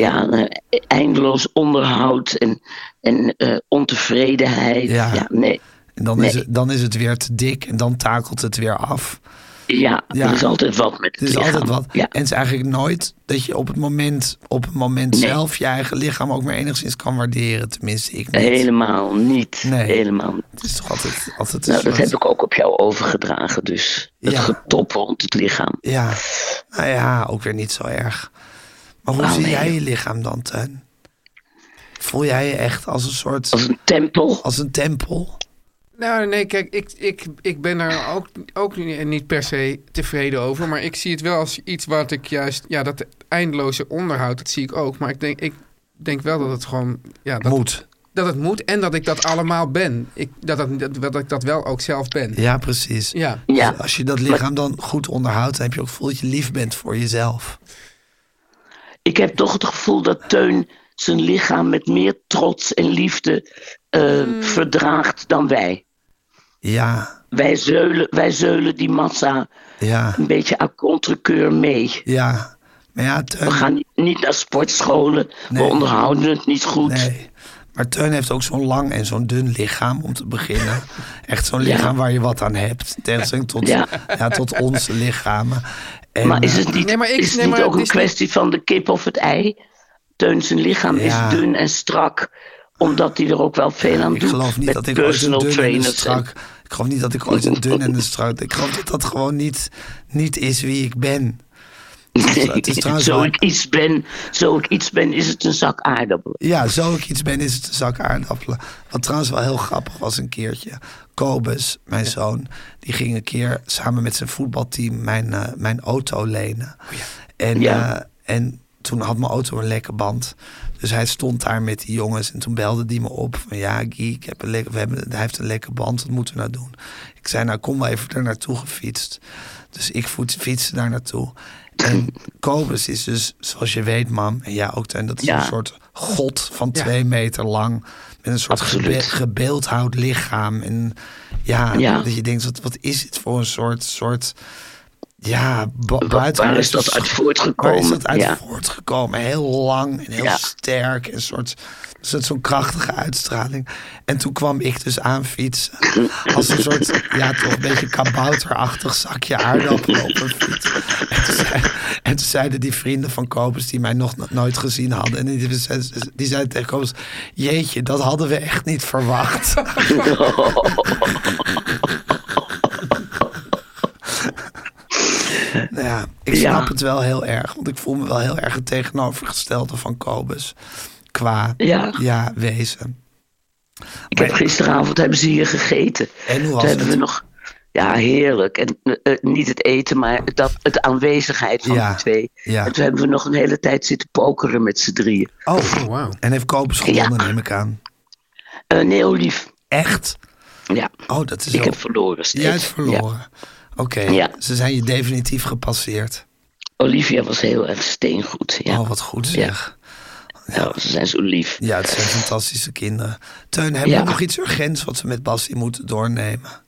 S3: Ja, eh, eindeloos onderhoud en, en eh, ontevredenheid.
S5: Ja.
S3: Ja. nee.
S5: en dan, is
S3: Nee.
S5: het, dan is het weer te dik en dan takelt het weer af.
S3: Ja,
S5: Ja.
S3: er is altijd wat met
S5: Er
S3: het
S5: is
S3: lichaam.
S5: altijd wat.
S3: Ja.
S5: En het is eigenlijk nooit dat je op het moment, op het moment
S3: Nee.
S5: zelf je eigen lichaam ook maar enigszins kan waarderen. Tenminste, ik niet.
S3: Helemaal niet.
S5: Nee.
S3: Helemaal niet.
S5: Het is toch altijd, altijd een
S3: Nou, dat
S5: soort-
S3: heb ik ook op jou overgedragen, dus. Het
S5: Ja.
S3: getop rond het lichaam.
S5: Ja, nou ja, ook weer niet zo erg. Maar hoe
S3: Oh,
S5: zie
S3: nee.
S5: jij je lichaam dan, Teun? Voel jij je echt als een
S3: Als
S5: soort,
S3: een tempel.
S5: als een tempel?
S4: Nou, nee, kijk, ik, ik, ik ben daar ook, ook ni- niet per se tevreden over. Maar ik zie het wel als iets wat ik juist... Ja, dat eindeloze onderhoud, dat zie ik ook. Maar ik denk, ik denk wel dat het gewoon... Ja, dat,
S5: Moet.
S4: dat het moet en dat ik dat allemaal ben. Ik, dat, dat, dat, dat ik dat wel ook zelf ben.
S5: Ja, precies.
S4: Ja.
S3: Ja.
S5: Dus als je dat lichaam dan goed onderhoudt, dan heb je ook het gevoel dat je lief bent voor jezelf.
S3: Ik heb toch het gevoel dat Teun zijn lichaam met meer trots en liefde eh,
S5: Hmm.
S3: verdraagt dan wij.
S5: Ja,
S3: Wij zeulen, wij zeulen die massa
S5: ja,
S3: een beetje à contrekeur mee.
S5: ja. Maar ja, Teun...
S3: We gaan niet naar sportscholen,
S5: Nee.
S3: we onderhouden het niet goed.
S5: Nee. Maar Teun heeft ook zo'n lang en zo'n dun lichaam om te
S3: [LAUGHS]
S5: beginnen. Echt zo'n lichaam waar je wat aan hebt. Tegenstelling tot, ja.
S3: Ja.
S5: tot onze lichamen. En,
S3: Maar is
S5: eh,
S3: het niet,
S4: Nee, maar ik-
S3: is het
S4: nee,
S3: niet
S4: maar
S3: ook
S4: het
S3: een
S4: is niet-
S3: kwestie van de kip of het ei? Teun zijn lichaam
S5: Ja.
S3: is dun en strak, omdat hij er ook wel veel aan doet.
S5: eh, Ik geloof niet
S3: met
S5: dat ik ooit een
S3: personal
S5: dun en een
S3: trainers. en-
S5: strak... Ik geloof niet dat ik ooit een dun en een strak... Ik geloof dat dat gewoon niet, niet is wie ik ben.
S3: Nee,
S5: Het
S3: [LAUGHS]
S5: is trouwens
S3: zo,
S5: waar.
S3: ik iets ben, zo ik iets ben, is het een zak
S5: [LAUGHS]
S3: aardappelen.
S5: Ja, zo ik iets ben, is het een zak aardappelen. Wat trouwens wel heel grappig was een keertje. Kobus, mijn zoon, die ging een keer samen met zijn voetbalteam mijn, eh, mijn auto lenen. En,
S3: Ja.
S5: eh, en toen had mijn auto een lekke band. Dus hij stond daar met die jongens en toen belde die me op. Van ja, Guy, ik heb een lekke, we hebben, hij heeft een lekke band, wat moeten we nou doen? Ik zei, nou kom wel even daar naartoe gefietst. Dus ik voet- fietste daar naartoe.
S3: [LAUGHS]
S5: En Kobus is dus, zoals je weet, mam, en ja, ook en dat is
S3: Ja.
S5: een soort god van
S4: Ja.
S5: twee meter lang. Met een soort
S3: Absoluut.
S5: gebe- gebeeldhouwd lichaam. En ja,
S3: Ja.
S5: dat je denkt, wat, wat is dit voor een soort, soort ja, bu-
S3: Waar is
S5: buitengewoon-
S3: dat uit
S5: Waar
S3: voortgekomen?
S5: is dat uit
S3: ja.
S5: voortgekomen? Heel lang en heel
S3: Ja.
S5: sterk. Een soort, soort zo'n krachtige uitstraling. En toen kwam ik dus aan fietsen. Als een soort, ja, toch een beetje kabouterachtig zakje aardappelen op een fiets. En toen, zei- en toen zeiden die vrienden van Kobus die mij nog no- nooit gezien hadden. En die, ze- die zeiden tegen Kobus, jeetje, dat hadden we echt niet verwacht. Nou ja, ik
S3: Ja.
S5: snap het wel heel erg. Want ik voel me wel heel erg het tegenovergestelde van Kobus. Qua ja.
S3: Ja.
S5: wezen.
S3: Ik heb
S5: Maar-
S3: gisteravond hebben ze hier gegeten.
S5: En hoe was
S3: Toen hebben
S5: het?
S3: we nog. Ja, heerlijk. En eh, eh, niet het eten, maar dat, het aanwezigheid van
S5: Ja,
S3: de twee.
S5: ja.
S3: En toen hebben we nog een hele tijd zitten pokeren met z'n drieën.
S5: Oh,
S4: wauw.
S5: en heeft Kobus gewonnen,
S3: Ja.
S5: neem ik aan.
S3: Eh nee, oh, lief.
S5: Echt?
S3: Ja.
S5: Oh, dat is
S3: ik
S5: wel-
S3: heb verloren steeds.
S5: Jij hebt
S3: Ja.
S5: verloren. Oké,
S3: Ja.
S5: ze zijn je definitief gepasseerd.
S3: Olivia was heel erg steengoed. Ja.
S5: Oh, wat goed zeg.
S3: Nou, ze zijn zo lief.
S5: Ja, het zijn fantastische kinderen. Teun, hebben
S3: Ja.
S5: we nog iets urgents wat we met Bassie moeten doornemen?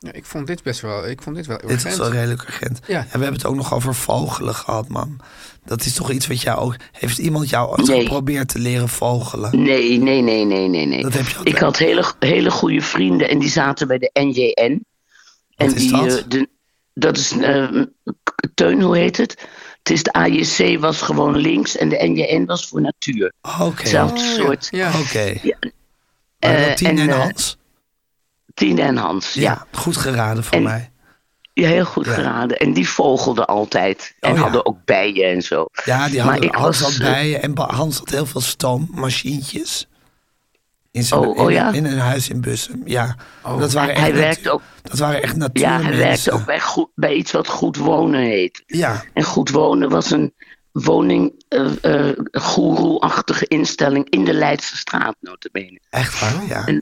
S4: Ja, ik vond dit best wel, ik vond dit wel
S5: Dit is
S4: urgent.
S5: wel redelijk urgent.
S4: Ja.
S5: En we hebben het ook nog over vogelen gehad, mam. Dat is toch iets wat jou ook... Heeft iemand jou ooit
S3: Nee.
S5: geprobeerd te leren vogelen?
S3: Nee, nee, nee, nee, nee. nee.
S5: Dat heb je altijd.
S3: ik had hele, hele goede vrienden en die zaten bij de NJN. En
S5: Wat is
S3: die,
S5: dat?
S3: eh, de, dat is, eh, k- Teun, hoe heet het? Het is de AJC was gewoon links en de NJN was voor natuur.
S5: Oké.
S3: Hetzelfde soort.
S4: Oh, Ja.
S5: Oké.
S3: Ja,
S5: Maar
S3: eh,
S5: dat Tien en,
S3: en, eh,
S5: Hans?
S3: Tine en Hans,
S5: Ja.
S3: ja. ja.
S5: goed geraden van
S3: En-
S5: mij.
S3: heel goed geraden. En die vogelden altijd. En
S5: Oh, ja.
S3: hadden ook bijen en zo.
S5: Ja, die
S3: Maar
S5: hadden,
S3: ik
S5: Hans
S3: was,
S5: had
S3: eh,
S5: bijen en Ba- Hans had heel veel stoommachientjes. In, zijn,
S3: Oh, oh
S5: in-
S3: ja?
S5: in een huis in Bussum, ja.
S4: Oh.
S5: dat waren echt
S3: Hij
S5: natu-
S3: werkte ook-
S5: Dat waren echt
S3: Ja, hij
S5: natuurmensen.
S3: werkte ook bij, goed, bij iets wat goed wonen heet.
S5: Ja,
S3: En Goed Wonen was een eh, woninggoeroe-achtige instelling in de Leidse straat, notabene.
S5: echt waar, ja.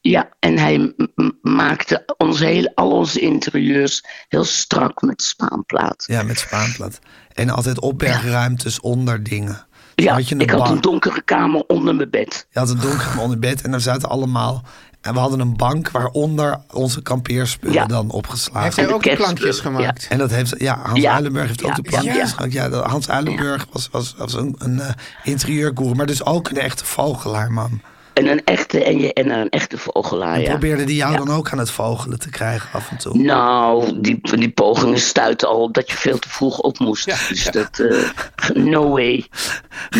S3: Ja, en hij m- m- maakte onze hele, al onze interieurs heel strak met spaanplaat.
S5: Ja, met Spaanplaat. En altijd opbergruimtes onder dingen. Zo
S3: Ja,
S5: had je een
S3: ik had
S5: bank.
S3: een donkere kamer onder mijn bed.
S5: Je had een donker onder bed en daar zaten allemaal... En we hadden een bank waaronder onze kampeerspullen
S3: Ja.
S5: dan
S4: Heeft
S5: opgeslagen.
S4: hij ook de
S3: kerstspullen,
S4: plankjes
S3: ja.
S4: gemaakt?
S5: En dat heeft, ja, Hans
S3: Ja.
S5: Uilenburg heeft ook
S3: Ja,
S5: de
S3: ja,
S5: plannen.
S3: ja.
S5: gemaakt. Ja. dat- Hans Uilenburg was, was, was een, een eh interieurgoer, maar dus ook een echte vogelaar, man.
S3: En een echte, en je, en een echte vogelaar,
S5: En
S3: Ah, ja.
S5: probeerde die jou dan ook aan het vogelen te krijgen af en toe?
S3: Nou, die, die pogingen stuiten al op dat je veel te vroeg op moest. Dus dat, eh, [LAUGHS] no way.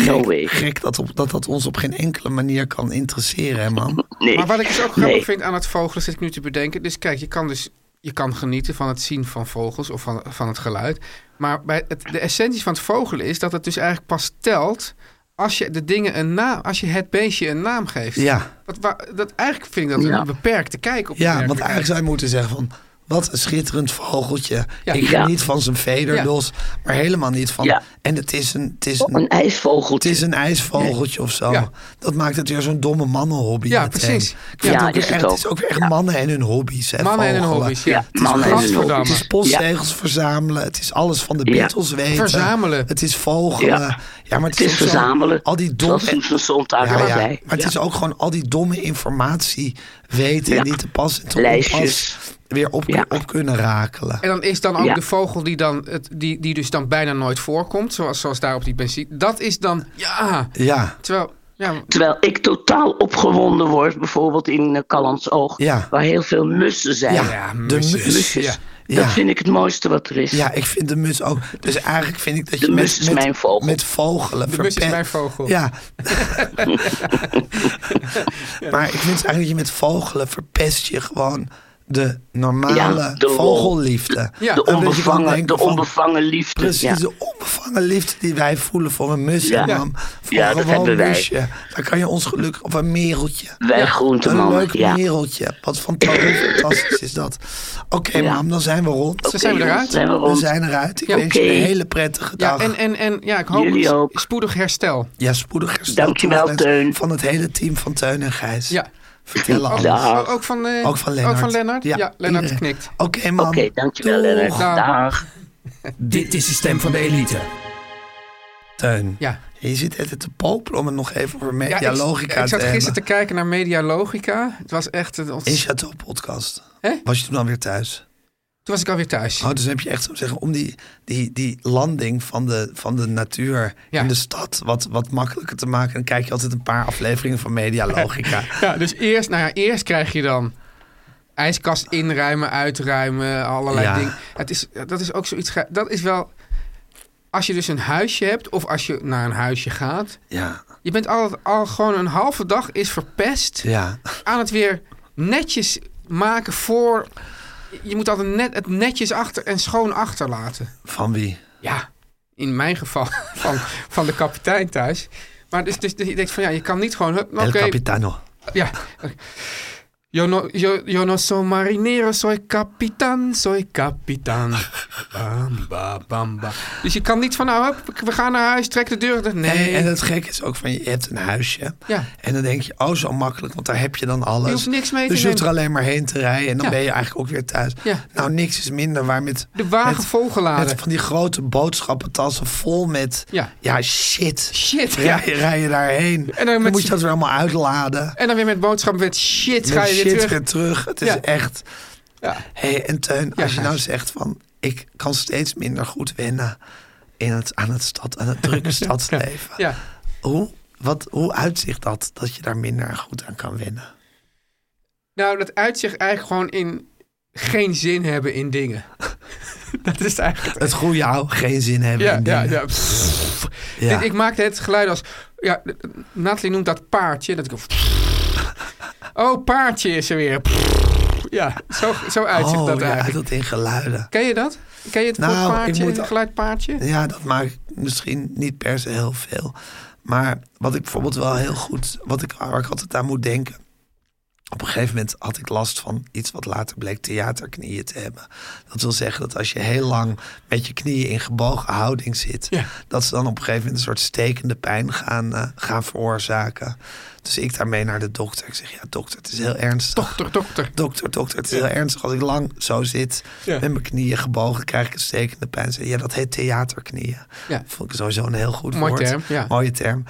S3: No way.
S5: Gek dat, op, dat dat ons op geen enkele manier kan interesseren, hè, man.
S3: Nee.
S4: Maar wat ik dus ook grappig
S3: Nee.
S4: vind aan het vogelen, zit ik nu te bedenken. Dus kijk, je kan dus je kan genieten van het zien van vogels of van, van het geluid. Maar bij het, de essentie van het vogelen is dat het dus eigenlijk pas telt als je de dingen een naam, als je het beestje een naam geeft.
S5: Ja.
S4: Wat, waar- dat, eigenlijk vind ik dat
S3: Ja.
S4: een beperkte kijk op de
S5: Ja, want
S4: werkelijkheid.
S5: eigenlijk zou je moeten zeggen van... Wat een schitterend vogeltje.
S4: Ja.
S5: Ik
S3: Ja.
S5: geniet van zijn vederdos, maar helemaal niet van...
S3: Ja. Oh,
S5: En het is een, het is
S3: Een
S5: een, het
S3: ijsvogeltje.
S5: is een ijsvogeltje of zo.
S4: Ja.
S5: Dat maakt het weer zo'n domme mannenhobby
S4: Ja,
S5: meteen.
S4: precies.
S5: Ik vind
S3: Ja,
S5: het, ook
S3: is
S5: weer
S3: het
S5: echt,
S3: ook.
S5: het is ook weer echt mannen en hun hobby's. Hè,
S4: Mannen en hun
S5: vogelen.
S4: hobby's, ja.
S3: Ja,
S4: Het is
S3: mannen en hun
S4: godverdamme.
S5: Het is postzegels verzamelen. Het is alles van de
S3: Ja.
S5: Beatles weten.
S4: Verzamelen.
S5: Het is vogelen. Ja,
S3: Ja.
S5: maar het,
S3: Het is
S5: ook zo-
S3: verzamelen.
S5: Al die
S3: Zoals
S5: domme...
S3: Soes en Sontag
S5: Ja,
S3: al
S5: ja.
S3: zei.
S5: Maar het
S3: Ja.
S5: is ook gewoon al die domme informatie weten en
S3: Ja.
S5: die te pas en te
S3: Lijstjes.
S5: onpas. weer op,
S3: Ja.
S5: op kunnen rakelen.
S4: En dan is dan ook
S3: Ja.
S4: de vogel die, dan, het, die, die dus dan bijna nooit voorkomt, zoals, zoals daar op die benzine. Dat is dan, ja.
S5: Ja,
S4: Terwijl, ja,
S3: Terwijl ik totaal opgewonden word, bijvoorbeeld in eh, Callans Oog,
S5: Ja.
S3: waar heel veel mussen zijn.
S5: ja,
S4: ja,
S5: de
S4: musjes.
S5: mus.
S3: Musjes.
S4: Ja.
S5: Ja.
S3: Dat vind ik het mooiste wat er is.
S5: Ja, ik vind de mus ook. Dus eigenlijk vind ik dat
S3: De
S5: je met,
S3: mus is
S5: met,
S3: mijn vogel.
S5: met vogelen.
S4: De mus is
S5: verpest-
S4: mijn vogel. [LAUGHS]
S5: Ja. maar ik vind eigenlijk dat je met vogelen verpest je gewoon de normale
S3: Ja, de lol.
S5: vogelliefde.
S4: Ja.
S5: Dan
S3: De,
S5: ben je gewoon
S3: onbevangen,
S5: denken
S3: de
S5: van-
S3: onbevangen liefde.
S5: Precies,
S3: ja.
S5: de onbevangen liefde die wij voelen voor een mus
S3: Ja.
S5: en mam.
S3: Ja.
S5: Voor
S3: Ja,
S5: een
S3: dat
S5: gewoon
S3: hebben wij.
S5: musje. Daar kan je ons gelukkig... Of een mereltje.
S3: Wij
S5: Een
S3: groentemannen.
S5: leuk
S3: Ja.
S5: mereltje. Wat
S3: [COUGHS]
S5: fantastisch, fantastisch is dat. Oké,
S3: Ja.
S5: mam, dan zijn we rond.
S4: Zo zijn we
S3: jongens,
S4: eruit.
S3: Zijn we
S5: We
S3: rond.
S5: zijn eruit. Ik
S4: Ja,
S5: wens je
S3: oké.
S5: een hele prettige
S4: ja
S5: dag.
S4: en, en, en ja, ik hoop
S3: Jullie
S4: s-
S3: ook.
S4: spoedig herstel.
S5: Ja, spoedig herstel.
S3: Dankjewel,
S5: toewenst
S3: Teun.
S5: Van het hele team van Teun en Gijs.
S4: Ja.
S5: Vertel alles.
S3: Dag.
S4: Ook, ook van, eh,
S5: Ook van Lennart.
S4: Ja, Lennart
S5: iedereen.
S4: knikt.
S5: Oké, man.
S3: Oké, dankjewel
S5: Doeg.
S3: Lennart.
S4: Dag.
S3: Dag.
S6: Dit is de stem van de elite.
S5: Teun.
S4: Ja.
S5: Je zit altijd te popelen om het nog even over
S4: Ja,
S5: Media
S4: ik-
S5: Logica
S4: ik
S5: te
S4: zat
S5: hebben.
S4: gisteren te kijken naar Media Logica. Het was echt... een ont-
S5: In Chateau Podcast.
S4: Hè?
S5: Was je toen alweer thuis?
S4: Toen was ik alweer thuis.
S5: Oh, dus heb je echt zo zeggen, om die, die, die landing van de, van de natuur
S4: Ja.
S5: in de stad wat, wat makkelijker te maken. Dan kijk je altijd een paar afleveringen van Media
S4: [LAUGHS]
S5: Logica.
S4: Ja, dus eerst, nou ja, eerst krijg je dan ijskast inruimen, uitruimen, allerlei
S5: Ja.
S4: dingen. Het is, dat is ook zoiets. ge- Dat is wel. Als je dus een huisje hebt of als je naar een huisje gaat.
S5: ja,
S4: Je bent al, al gewoon een halve dag is verpest
S5: ja.
S4: aan het weer netjes maken voor. Je moet altijd net, het netjes achter en schoon achterlaten.
S5: Van wie?
S4: Ja, in mijn geval [LAUGHS] van, van de kapitein thuis. Maar dus, dus, je denkt van ja, je kan niet gewoon... hup, Oké,
S5: El Capitano.
S4: ja. Yo no, yo, yo no soy marinero, soy capitán, soy capitán. Bam, ba, bam, ba. Dus je kan niet van, nou, hup, we gaan naar huis, trek de deur. dicht. Nee,
S5: En, en het gekke is ook van, je hebt een huisje.
S4: Ja.
S5: En dan denk je, oh zo makkelijk, want daar heb je dan alles.
S4: Je hoeft niks mee te
S5: Dus je hoeft er
S4: nemen.
S5: alleen maar heen te rijden en dan
S4: Ja.
S5: ben je eigenlijk ook weer thuis.
S4: Ja.
S5: Nou, niks is minder waar met...
S4: de wagen
S5: met-
S4: volgeladen.
S5: Met van die grote boodschappentassen vol met...
S4: Ja.
S5: shit.
S4: Shit, ja.
S5: Rij, rij je daarheen.
S4: dan
S5: En dan,
S4: met-
S5: moet je dat weer allemaal uitladen.
S4: En dan weer met boodschappen, met shit,
S5: Met
S4: ga je
S5: shit
S4: weer terug.
S5: Het
S4: Ja.
S5: is echt...
S4: Ja.
S5: hey, en Teun,
S4: Ja,
S5: als je nou
S4: Gijs.
S5: zegt van... Ik kan steeds minder goed wennen in het, aan, het stad, aan het
S4: [LAUGHS]
S5: drukke stadsleven.
S4: Ja.
S5: Hoe, wat, hoe uitzicht dat, dat je daar minder goed aan kan wennen?
S4: Nou, dat uitzicht eigenlijk gewoon in geen zin hebben in
S5: [LAUGHS]
S4: dingen. dat is eigenlijk...
S5: Het goede jou geen zin hebben
S4: Ja,
S5: in
S4: ja,
S5: dingen.
S4: ja. Pff.
S5: Ja.
S4: Dit- ik maakte het geluid als... Ja, Natalie noemt dat paardje. Dat ik, [LAUGHS] oh, paardje is er weer. [LAUGHS] Ja, zo, zo uitziet
S5: Oh,
S4: dat
S5: ja,
S4: eigenlijk.
S5: dat in geluiden.
S4: Ken je dat? Ken je het woord
S5: Nou, ik
S4: paardje,
S5: moet-
S4: het geluid paardje?
S5: Ja, dat maak ik misschien niet per se heel veel. Maar wat ik bijvoorbeeld wel heel goed... Wat ik, waar ik altijd aan moet denken... Op een gegeven moment had ik last van iets wat later bleek theaterknieën te hebben. Dat wil zeggen dat als je heel lang met je knieën in gebogen houding zit,
S4: Ja.
S5: dat ze dan op een gegeven moment een soort stekende pijn gaan, eh, gaan veroorzaken. Dus ik daarmee naar de dokter. Ik zeg, ja dokter, het is heel ernstig.
S4: Dokter, dokter.
S5: Dokter, dokter, het is heel ernstig. Als ik lang zo zit
S4: Ja.
S5: met mijn knieën gebogen, krijg ik een stekende pijn. Zei, Ja, dat heet theaterknieën.
S4: Ja.
S5: Vond ik sowieso een heel goed
S4: Mooi
S5: woord.
S4: term, ja.
S5: Mooie term.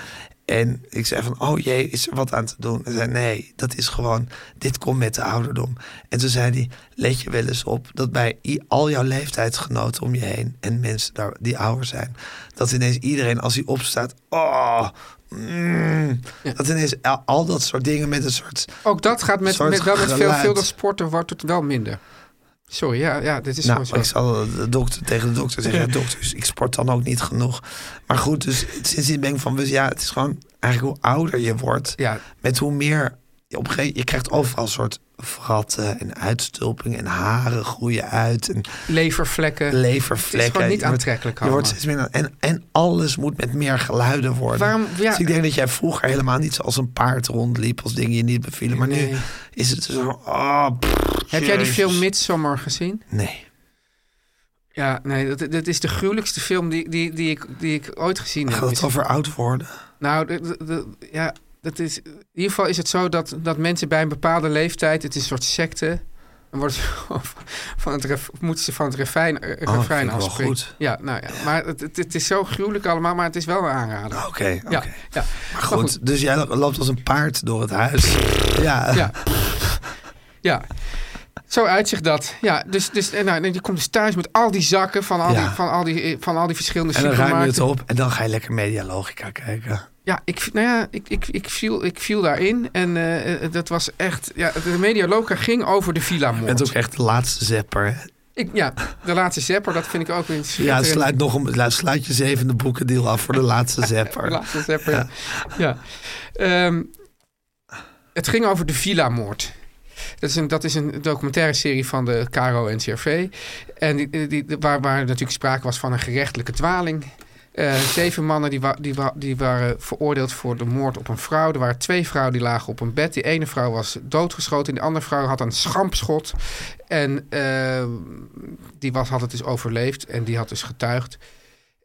S5: En ik zei van, oh jee, is er wat aan te doen? Hij zei, nee, dat is gewoon, dit komt met de ouderdom. En toen zei hij, let je wel eens op dat bij i- al jouw leeftijdsgenoten om je heen... en mensen daar, die ouder zijn, dat ineens iedereen als hij opstaat... oh, mm, dat ineens al, al dat soort dingen met een soort...
S4: Ook dat gaat met,
S5: Soort
S4: met, wel met veel,
S5: geluid.
S4: veel dat sporten wordt het wel minder. Sorry, ja, ja dit is
S5: Nou,
S4: gewoon
S5: ik
S4: zo.
S5: zal de dokter, tegen de dokter zeggen, ja, dokter, dus ik sport dan ook niet genoeg. Maar goed, dus sindsdien ben ik van, dus ja, het is gewoon eigenlijk hoe ouder je wordt,
S4: Ja.
S5: met hoe meer, je op een gegeven je krijgt overal een soort vratten en uitstulping en haren groeien uit en
S4: Levervlekken.
S5: levervlekken.
S4: Het is gewoon niet
S5: Je wordt-
S4: aantrekkelijk
S5: Je wordt
S4: allemaal.
S5: steeds minder, en, en alles moet met meer geluiden worden.
S4: Waarom- ja.
S5: Dus ik denk dat jij vroeger helemaal niet zoals een paard rondliep, als dingen je niet bevielen. Maar nu
S4: Nee.
S5: is het zo, ah, pff,
S4: Heb jij die
S5: jezus.
S4: film Midsommar gezien?
S5: Nee.
S4: Ja, nee, dat, dat is de gruwelijkste film die, die, die, ik, die ik ooit gezien
S5: [LAUGHS]
S4: heb.
S5: Gaat het over oud worden?
S4: Nou, de- de- de- ja, dat is, in ieder geval is het zo dat, dat mensen bij een bepaalde leeftijd, het is een soort secte, en wordt [LAUGHS] van het ref- moeten ze van het refijn, eh,
S5: Oh, vind
S4: refrein
S5: ik wel
S4: afspringen.
S5: goed.
S4: Ja, nou ja, maar het, het, het is zo gruwelijk allemaal, maar het is wel een aanrader.
S5: Ah, Oké, oké.
S4: Ja, ja.
S5: Maar goed, dus jij loopt als een paard door het huis. Ja,
S4: Ja. ja. Zo uitzicht dat. Ja, dus, dus en nou, en die komt dus thuis met al die zakken van al,
S5: Ja.
S4: die, van al, die, eh, van al die verschillende
S5: En dan ruim je
S4: supermarkten.
S5: het op en dan ga je lekker Medialogica kijken.
S4: Ja, ik, nou ja ik, ik, ik, viel, ik viel daarin. En eh, eh, dat was echt... Ja, de Medialoca ging over de
S5: Je
S4: villa-moord.
S5: bent ook echt de laatste zepper. hè?
S4: Ik, ja, de laatste zepper, dat vind ik ook weer
S5: Ja, het
S4: schitterend.
S5: sluit, nog een, het sluit je zevende boekendeal af voor de
S4: [LAUGHS]
S5: laatste
S4: De
S5: zepper.
S4: laatste zepper, ja. ja. Ehm, het ging over de Villa-moord. Dat is, een, dat is een documentaire serie van de Caro en CRV. En die, die, waar, waar natuurlijk sprake was van een gerechtelijke dwaling. Eh, zeven mannen die, wa- die, wa- die waren veroordeeld voor de moord op een vrouw. Er waren twee vrouwen die lagen op een bed. Die ene vrouw was doodgeschoten. En die andere vrouw had een schampschot. En eh, die was, had het dus overleefd. En die had dus getuigd.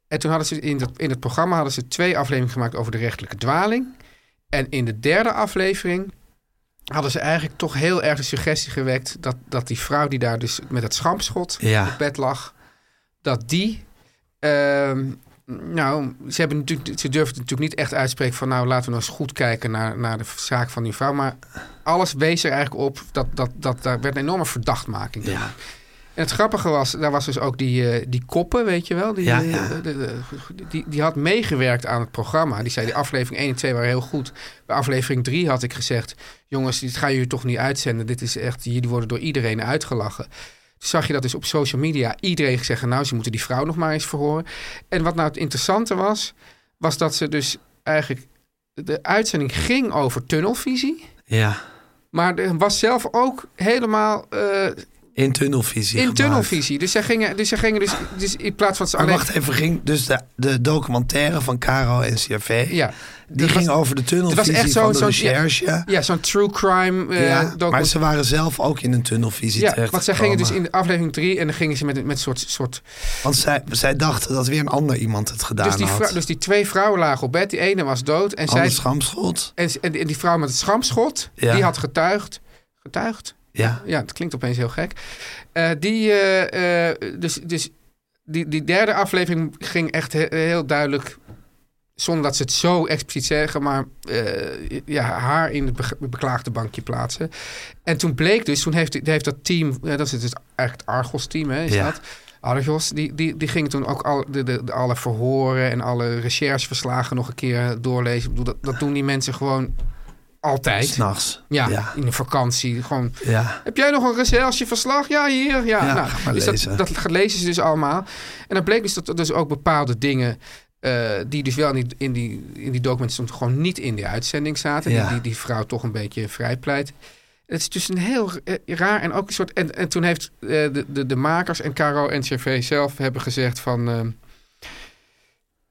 S4: En toen hadden ze in, dat, in het programma hadden ze twee afleveringen gemaakt over de rechtelijke dwaling. En in de derde aflevering hadden ze eigenlijk toch heel erg de suggestie gewekt dat, dat die vrouw die daar dus met het schampschot
S5: Ja.
S4: op bed lag, dat die. ehm, nou, ze, hebben natuurlijk, ze durfden natuurlijk niet echt uitspreken van nou laten we nou eens goed kijken naar, naar de zaak van die vrouw. Maar alles wees er eigenlijk op dat, dat, dat daar werd een enorme verdachtmaking.
S5: Ja.
S4: En het grappige was, daar was dus ook die, eh, die koppen, weet je wel. Die,
S5: Ja,
S4: eh,
S5: ja.
S4: de- de- de- die, die had meegewerkt aan het programma. Die zei, die aflevering 1 en 2 waren heel goed. Bij aflevering 3 had ik gezegd... jongens, dit ga je toch niet uitzenden. Dit is echt, jullie worden door iedereen uitgelachen. Toen zag je dat dus op social media. Iedereen ging zeggen, nou, ze moeten die vrouw nog maar eens verhoren. En wat nou het interessante was... was dat ze dus eigenlijk... de uitzending ging over tunnelvisie...
S5: Ja.
S4: maar er was zelf ook helemaal... eh,
S5: In tunnelvisie.
S4: in
S5: gemaakt.
S4: tunnelvisie. Dus zij gingen dus, zij gingen dus, dus in plaats van ze
S5: Maar
S4: alleen...
S5: Ah, wacht even, ging dus de, de documentaire van Caro en CRV.
S4: Ja.
S5: Die
S4: Dat
S5: ging
S4: was-
S5: over de tunnelvisie
S4: Het was echt zo-
S5: van de
S4: zo'n-
S5: recherche. Ja,
S4: Ja, zo'n true crime eh
S5: maar
S4: document-
S5: ze waren zelf ook in een tunnelvisie
S4: Ja,
S5: terecht.
S4: want zij gingen dus in de aflevering 3 en dan gingen ze met, met een soort... soort
S5: Want zij, zij dachten dat weer een ander iemand het gedaan
S4: dus, die
S5: had.
S4: vrou- dus die twee vrouwen lagen op bed, die ene was dood en
S5: Anders
S4: zij...
S5: Schamschot.
S4: En, en die- en die vrouw met het schamschot,
S5: Ja.
S4: die had getuigd. Getuigd?
S5: Ja.
S4: Ja, het klinkt opeens heel gek. Eh, die, eh, eh, dus, dus die, die derde aflevering ging echt he- heel duidelijk, zonder dat ze het zo expliciet zeggen, maar eh, ja, haar in het be- beklaagde bankje plaatsen. En toen bleek dus, toen heeft, heeft dat team, ja, dat is dus eigenlijk het Argos-team, hè, is
S5: Ja.
S4: dat? Argos, die, die, die gingen toen ook al, de, de, de- alle verhoren en alle rechercheverslagen nog een keer doorlezen. Ik bedoel, dat, dat doen die mensen gewoon altijd.
S5: S'nachts.
S4: Ja,
S5: Ja.
S4: in de vakantie. Gewoon
S5: Ja.
S4: heb jij nog een rechercheverslag? Ja, hier. Ja,
S5: Ja,
S4: nou,
S5: ga maar
S4: dus dat-
S5: lezen.
S4: Dat, lezen ze dus allemaal. En dan bleek dus dat er dus ook bepaalde dingen... eh, die dus wel in die, in die, in die documenten stond, gewoon niet in die uitzending zaten.
S5: Ja.
S4: Die, die, die vrouw toch een beetje vrijpleit. Het is dus een heel eh, raar en ook een soort... En, en toen heeft eh, de, de, de makers en Caro en CV zelf hebben gezegd van... ehm,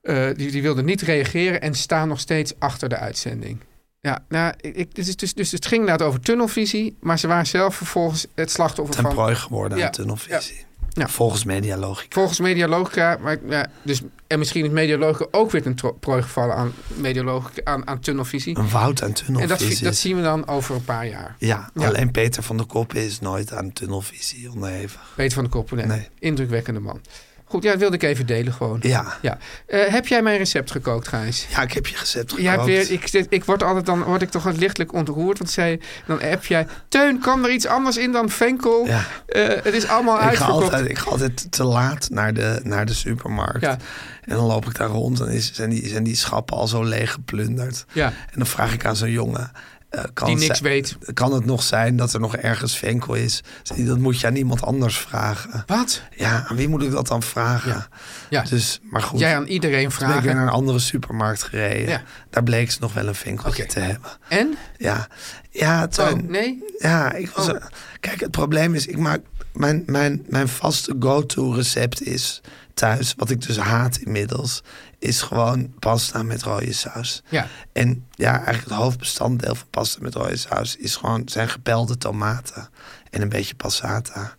S4: eh, die, die wilden niet reageren en staan nog steeds achter de uitzending. Ja, nou, ik, ik- dit is dus, dus het ging inderdaad over tunnelvisie, maar ze waren zelf vervolgens het slachtoffer
S5: Ten
S4: van.
S5: prooi geworden
S4: Ja.
S5: aan tunnelvisie.
S4: Ja.
S5: Volgens Medialogica.
S4: Volgens Medialogica, maar ja, dus, en misschien is Medialogica ook weer ten tro- prooi gevallen aan, Medialogica, aan, aan tunnelvisie.
S5: Een woud aan
S4: En dat,
S5: tunnelvisie.
S4: vi- dat zien we dan over een paar jaar.
S5: ja,
S4: Ja.
S5: alleen Peter van der Koppen is nooit aan tunnelvisie onderhevig.
S4: Peter van de Koppen,
S5: Nee.
S4: indrukwekkende man. Goed, ja, dat wilde ik even delen gewoon.
S5: Ja.
S4: Ja. Eh, heb jij mijn recept gekookt, Gijs?
S5: Ja, ik heb je gezet
S4: Jij hebt
S5: gekookt.
S4: weer, ik, ik word altijd dan word ik toch wat lichtelijk ontroerd. Want zij, dan heb jij. Teun, kan er iets anders in dan Venkel?
S5: Ja.
S4: Eh, het is allemaal
S5: ik, ga
S4: uitverkocht.
S5: altijd, ik ga altijd te laat naar de, naar de supermarkt.
S4: Ja.
S5: En dan loop ik daar rond en is, zijn, die, zijn die schappen al zo leeg geplunderd.
S4: Ja.
S5: En dan vraag ik aan zo'n jongen... eh, kan
S4: Die
S5: het
S4: niks
S5: zijn-
S4: weet.
S5: Kan het nog zijn dat er nog ergens venkel is? Zegt hij, Dat moet je aan iemand anders vragen.
S4: Wat?
S5: Ja, aan wie moet ik dat dan vragen?
S4: Ja. Ja.
S5: Dus, maar goed.
S4: Jij aan iedereen
S5: Toen ben ik weer
S4: vragen.
S5: naar een andere supermarkt gereden.
S4: Ja.
S5: Daar bleek ze nog wel een vinkeltje
S4: Oké.
S5: te hebben.
S4: En?
S5: Ja, ja
S4: Oh,
S5: Teun.
S4: nee?
S5: Ja, ik was.
S4: Oh.
S5: Kijk, het probleem is, ik maak. Mijn, mijn, mijn vaste go-to recept is thuis, wat ik dus haat inmiddels, is gewoon pasta met rode saus.
S4: Ja.
S5: En ja, eigenlijk het hoofdbestanddeel van pasta met rode saus is gewoon zijn gepelde tomaten en een beetje passata.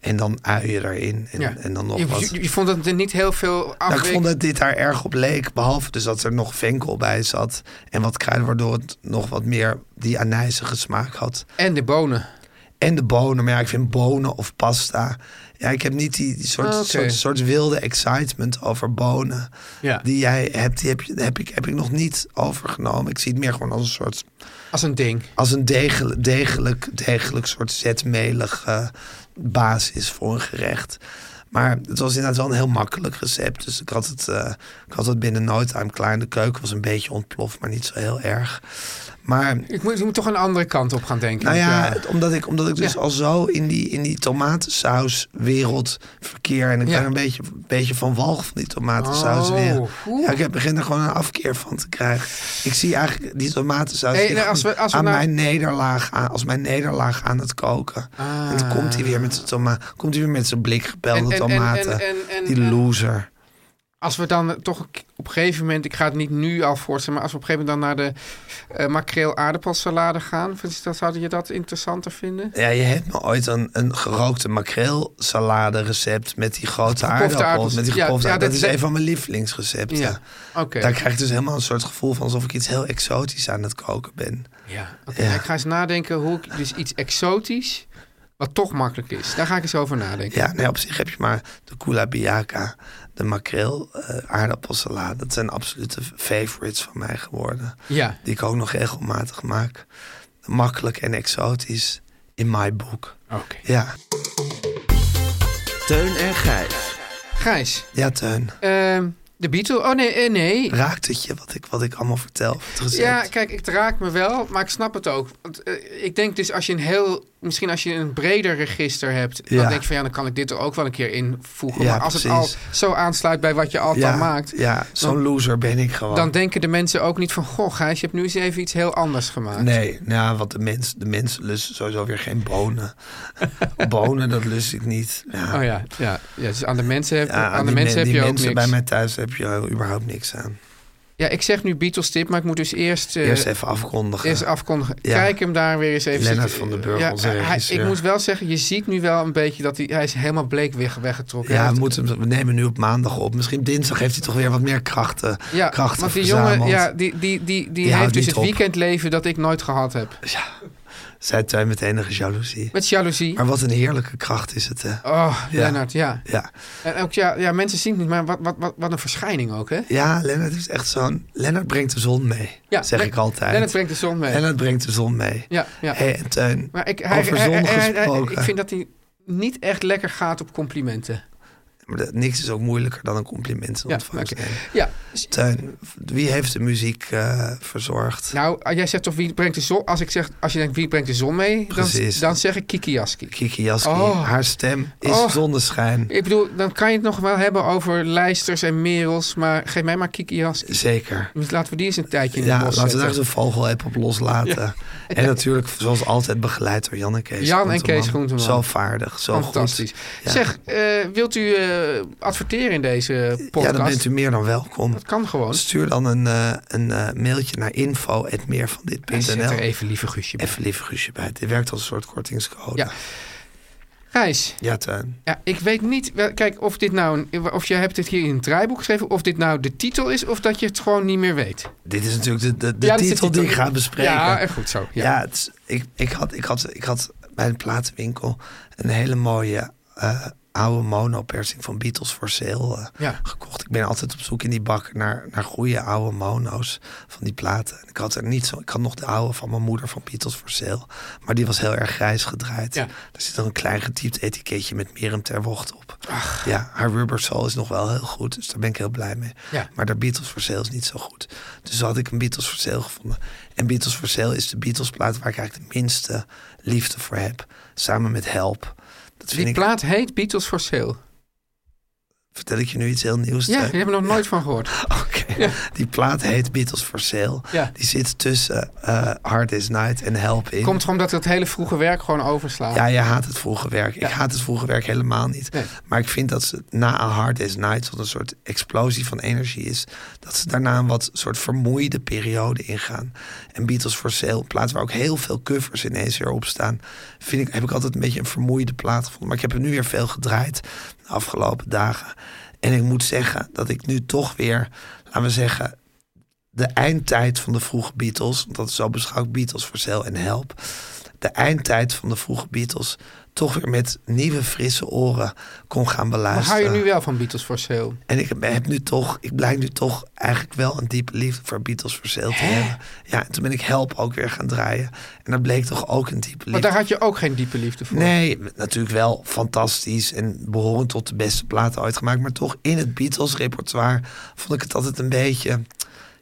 S5: En dan uien erin en,
S4: Ja.
S5: en dan nog
S4: je,
S5: wat.
S4: je, je vond dat er niet heel veel
S5: Nou,
S4: afweek.
S5: ik vond dat dit daar erg op leek. Behalve dus dat er nog venkel bij zat. En wat kruiden, waardoor het nog wat meer die anijzige smaak had.
S4: En de bonen.
S5: En de bonen. Maar ja, ik vind bonen of pasta. Ja, ik heb niet die, die soort,
S4: Ah, oké.
S5: soort, soort wilde excitement over bonen.
S4: Ja.
S5: Die jij hebt, die heb, je, heb, ik, heb ik nog niet overgenomen. Ik zie het meer gewoon als een soort
S4: Als een ding.
S5: als een degelijk, degelijk, degelijk soort zetmelige basis voor een gerecht. Maar het was inderdaad wel een heel makkelijk recept. Dus ik had het, eh, ik had het binnen no time klaar. De keuken was een beetje ontploft, maar niet zo heel erg. Maar
S4: Ik moet, ik moet toch een andere kant op gaan denken.
S5: nou ja,
S4: Ja.
S5: het- omdat ik, omdat ik dus
S4: Ja.
S5: al zo in die, in die tomatensauswereld verkeer. En ik
S4: Ja.
S5: ben een beetje, beetje van walg van die tomatensaus
S4: Oh,
S5: weer.
S4: oeh.
S5: Ja, ik heb- begin er gewoon een afkeer van te krijgen. Ik zie eigenlijk die tomatensaus
S4: Hey,
S5: die
S4: nou, als
S5: gewoon
S4: we- als we
S5: aan
S4: nou-
S5: mijn nederlaag aan, als mijn nederlaag aan het koken. En dan komt hij weer met zijn toma komt hij weer met zijn
S4: Ah. En-
S5: blikgepelde
S4: en- en- en-
S5: tomaten.
S4: en- en-
S5: die
S4: en-
S5: loser.
S4: Als we dan toch op een gegeven moment, ik ga het niet nu al voorstellen, maar als we op een gegeven moment dan naar de eh makreel aardappelsalade gaan, vind je dat, zou je dat interessanter vinden?
S5: Ja, je hebt me ooit een, een gerookte makreelsalade recept met die grote aardappels.
S4: aardappels.
S5: Met die
S4: Ja,
S5: gepofte
S4: ja,
S5: aardappels.
S4: dat
S5: dat
S4: is-
S5: is een van mijn lievelingsrecepten.
S4: Ja, oké.
S5: Daar krijg ik dus helemaal een soort gevoel van alsof ik iets heel exotisch aan het koken ben.
S4: Ja, oké.
S5: Ja.
S4: Ik ga eens nadenken hoe ik dus iets exotisch, wat toch makkelijk is. Daar ga ik eens over nadenken.
S5: Ja, nee, op zich heb je maar de kula biaka, de makreel eh, aardappelsalade. Dat zijn absolute favorites van mij geworden.
S4: Ja.
S5: Die ik ook nog regelmatig maak. Makkelijk en exotisch in mijn boek.
S4: Oké.
S5: Ja,
S6: Teun en Gijs.
S4: Gijs,
S5: ja Teun.
S4: ehm, de Beatles. Oh nee, eh, nee.
S5: Raakt het je wat ik, wat ik allemaal vertel? Het recept?
S4: Ja, kijk, ik raak me wel, maar ik snap het ook. Want, eh, ik denk dus als je een heel, misschien als je een breder register hebt,
S5: Ja.
S4: dan denk je van ja, dan kan ik dit er ook wel een keer invoegen.
S5: Ja,
S4: maar als
S5: precies.
S4: het al zo aansluit bij wat je altijd
S5: ja,
S4: maakt,
S5: Ja, zo'n loser ben ik gewoon.
S4: dan denken de mensen ook niet van goh, Gijs, je hebt nu eens even iets heel anders gemaakt.
S5: Nee, nou, ja, want de mensen de mens lusten sowieso weer geen
S4: [LAUGHS]
S5: bonen. bonen, dat lust ik niet. Ja.
S4: Oh ja, ja, ja, dus aan de mensen heb,
S5: Ja,
S4: aan de
S5: die
S4: mensen
S5: men-
S4: heb
S5: die
S4: je ook
S5: mensen
S4: niks.
S5: bij mij thuis heb je eh, überhaupt niks aan.
S4: Ja, ik zeg nu Beatles tip, maar ik moet dus eerst, eh,
S5: Eerst even afkondigen.
S4: eerst afkondigen.
S5: Ja.
S4: Kijk hem daar weer eens even.
S5: Lennart
S4: zitten.
S5: van den Burg, onze
S4: hij-
S5: regisseur.
S4: Ik moet wel zeggen, je ziet nu wel een beetje dat hij, hij is helemaal bleek weg, weggetrokken. Hij
S5: ja, we,
S4: heeft-
S5: moeten, hem- we nemen nu op maandag op. Misschien dinsdag heeft hij toch weer wat meer krachten,
S4: Ja,
S5: krachten
S4: want die
S5: verzameld.
S4: jongen, ja, die, die, die, die,
S5: Die houdt
S4: heeft dus
S5: niet
S4: het
S5: op.
S4: weekendleven dat ik nooit gehad heb.
S5: Zei Tuin met enige jaloezie.
S4: Met jaloezie.
S5: Maar wat een heerlijke kracht is het, hè?
S4: Oh,
S5: Ja.
S4: Lennart, ja.
S5: Ja,
S4: En ook, ja, ja, mensen zien het niet, maar wat, wat, wat, wat een verschijning ook, hè?
S5: ja Lennart is echt zo'n... Lennart brengt de zon mee,
S4: Ja,
S5: zeg
S4: Len-
S5: ik altijd.
S4: Lennart brengt de zon mee.
S5: Lennart brengt de zon mee.
S4: Ja, ja.
S5: Hey, en Teun,
S4: maar ik,
S5: over zon gesproken.
S4: ik vind dat hij niet echt lekker gaat op complimenten.
S5: Maar dat- niks is ook moeilijker dan een compliment te
S4: Ja,
S5: ontvangen.
S4: oké. Ja.
S5: Teun, wie heeft de muziek eh, verzorgd?
S4: Nou, jij zegt toch wie brengt de zon... Als ik zeg, als je denkt wie brengt de zon mee, dan,
S5: Precies.
S4: dan zeg ik Kiki Jaski.
S5: Kiki Jaski,
S4: Oh.
S5: haar stem is
S4: Oh.
S5: zonneschijn.
S4: Ik bedoel, dan kan je het nog wel hebben over lijsters en merels, maar geef mij maar Kiki Jaski.
S5: Zeker.
S4: Dus laten we die eens een tijdje in
S5: Ja,
S4: het bos
S5: laten we daar eens
S4: zetten.
S5: een vogelapp op loslaten. En natuurlijk, zoals altijd, begeleid door Jan en Kees
S4: Jan en
S5: Groenteman.
S4: Kees Groenteman.
S5: Zo vaardig, zo
S4: Fantastisch.
S5: goed. Ja.
S4: Zeg, eh, wilt u eh, adverteren in deze
S5: ja,
S4: podcast?
S5: dan bent u meer dan welkom.
S4: Dat kan gewoon.
S5: Stuur dan een, eh, een eh, mailtje naar
S4: En Zet er
S5: info.meervandit.nl.
S4: even lieve Guusje bij.
S5: Even lief Guusje bij. Dit werkt als een soort kortingscode.
S4: Ja. Gijs,
S5: ja Teun.
S4: ja, ik weet niet, wel, kijk, of dit nou, een, of je hebt het hier in het draaiboek geschreven, of dit nou de titel is, of dat je het gewoon niet meer weet.
S5: Dit is natuurlijk de, de, de
S4: Ja, dat is de
S5: titel die ik
S4: titel.
S5: ga bespreken.
S4: Ja, eh, goed zo. Ja.
S5: Ja, het is- ik, ik, had, ik, had, ik had bij een platenwinkel een hele mooie eh, oude monopersing van Beatles for Sale eh,
S4: Ja.
S5: gekocht. Ik ben altijd op zoek in die bak naar, naar goede oude mono's van die platen. En Ik had er niet zo. Ik had nog de oude van mijn moeder van Beatles for Sale. Maar die was heel erg grijs gedraaid.
S4: Ja.
S5: Er zit dan een klein getypt etiketje met Merem ter Wocht op. Ja, haar Rubber Soul is nog wel heel goed. Dus daar ben ik heel blij mee.
S4: Ja.
S5: Maar de Beatles for Sale is niet zo goed. Dus had ik een Beatles for Sale gevonden. En Beatles for Sale is de Beatles plaat waar ik eigenlijk de minste liefde voor heb. Samen met Help. Dat vind
S4: Die
S5: ik,
S4: plaat heet Beatles for Sale.
S5: vertel ik je nu iets heel nieuws.
S4: Ja,
S5: Teun?
S4: daar heb ik nog nooit van gehoord.
S5: [LAUGHS] Oké. Die plaat heet Beatles for Sale.
S4: Ja.
S5: Die zit tussen eh Hard Is Night en Help in.
S4: Komt gewoon omdat het hele vroege werk gewoon overslaat.
S5: Ja, je haat het vroege werk. Ik haat het vroege werk helemaal niet.
S4: Nee.
S5: Maar ik vind dat ze na een hard day's night, wat een soort explosie van energie is, dat ze daarna een wat soort vermoeide periode ingaan. En Beatles for Sale, een plaat waar ook heel veel covers ineens weer op staan, vind ik, heb ik altijd een beetje een vermoeide plaat gevonden. Maar ik heb er nu weer veel gedraaid de afgelopen dagen. En ik moet zeggen dat ik nu toch weer, laten we zeggen, de eindtijd van de vroege Beatles. Want dat is zo beschouwd Beatles voor Sale en Help. de eindtijd van de vroege Beatles toch weer met nieuwe frisse oren kon gaan
S4: Maar hou
S5: beluisteren.
S4: je nu wel van Beatles for Sale?
S5: En ik, heb- heb nu toch, ik blijk nu toch eigenlijk wel een diepe liefde voor Beatles voor Sale te hebben. Ja, en toen ben ik Help ook weer gaan draaien. En dat bleek toch ook een diepe
S4: Maar
S5: liefde.
S4: daar had je ook geen diepe liefde voor.
S5: Nee, natuurlijk wel fantastisch en behorend tot de beste platen uitgemaakt. Maar toch in het Beatles repertoire vond ik het altijd een beetje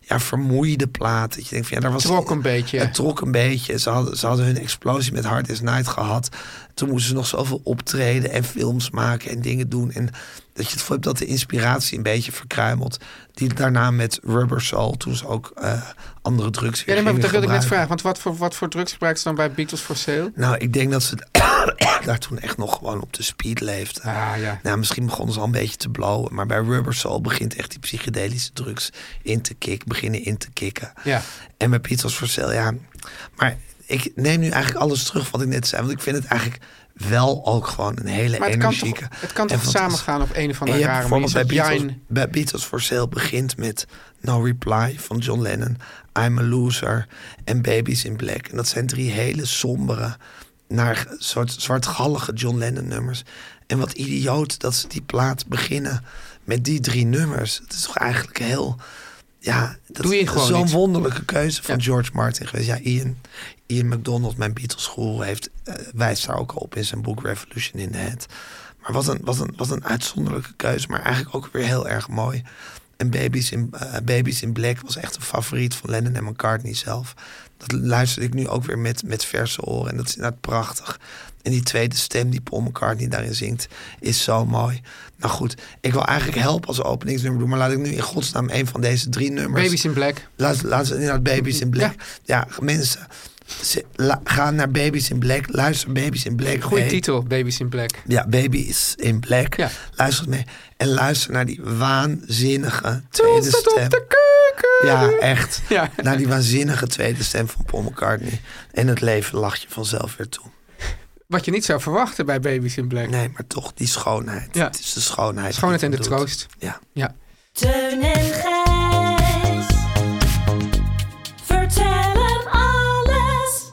S5: ja, vermoeide plaat. Dat je denkt van, ja, daar was
S4: Trok een beetje.
S5: Het trok een beetje. Ze hadden, ze hadden hun explosie met Hard Is Night gehad. Toen moesten ze nog zoveel optreden en films maken en dingen doen. En dat je het voelt dat de inspiratie een beetje verkruimelt. Die daarna met Rubber Soul, toen ze ook eh, andere drugs
S4: Ja,
S5: weer
S4: nee, maar
S5: gingen
S4: dat wilde ik net
S5: gebruiken.
S4: vragen. Want wat voor, wat voor drugs gebruiken ze dan bij Beatles for Sale?
S5: Nou, ik denk dat ze [COUGHS] daar toen echt nog gewoon op de speed leefden.
S4: Ah, ja.
S5: Nou, misschien begonnen ze al een beetje te blowen. Maar bij Rubber Soul begint echt die psychedelische drugs in te kicken, beginnen in te kicken.
S4: Ja.
S5: En bij Beatles for Sale, ja. Maar ik neem nu eigenlijk alles terug wat ik net zei. Want ik vind het eigenlijk wel ook gewoon een hele
S4: Maar het kan
S5: energieke...
S4: toch, het kan
S5: en
S4: toch
S5: fantastische-
S4: samengaan op een of
S5: en
S4: andere
S5: je hebt
S4: rare manier.
S5: bijvoorbeeld bij
S4: Zoals
S5: Beatles,
S4: Jijn.
S5: bij Beatles for Sale begint met No Reply van John Lennon, I'm a Loser en Babies in Black. En dat zijn drie hele sombere, naar soort zwartgallige John Lennon nummers. En wat idioot dat ze die plaat beginnen met die drie nummers. Het is toch eigenlijk heel... Ja, dat
S4: Doe je
S5: is
S4: gewoon
S5: zo'n
S4: niet.
S5: wonderlijke keuze van
S4: Ja.
S5: George Martin geweest. Ja, Ian, Ian McDonald, mijn Beatles guru, heeft, eh, wijst daar ook al op in zijn boek Revolution in the Head. Maar wat een, wat, een, wat een uitzonderlijke keuze, maar eigenlijk ook weer heel erg mooi. En Babies in, eh, Babies in Black was echt een favoriet van Lennon en McCartney zelf. Dat luisterde ik nu ook weer met, met verse oren en dat is inderdaad prachtig. En die tweede stem die Paul McCartney daarin zingt, is zo mooi. Nou goed, ik wil eigenlijk helpen als openingsnummer doen, maar laat ik nu in godsnaam een van deze drie nummers...
S4: Babies in Black.
S5: Laat, laat ze inderdaad Babies in Black. Ja, mensen, ze- la- ga naar Babies in Black. Luister Babies in Black.
S4: Goeie
S5: mee.
S4: titel, Babies in Black.
S5: Ja, Babies in Black.
S4: Ja.
S5: Luister mee. En luister naar die waanzinnige tweede stem.
S4: keuken.
S5: Ja, echt.
S4: Ja.
S5: Naar die waanzinnige tweede stem van Paul McCartney. En het leven lacht je vanzelf weer toe.
S4: Wat je niet zou verwachten bij Babies in Black.
S5: Nee, maar toch die schoonheid.
S4: Ja.
S5: Het is de schoonheid.
S4: Schoonheid
S5: die
S4: en de
S5: het doet.
S4: troost.
S5: Ja.
S4: Ja.
S7: Teun en Gijs. Vertel hem alles.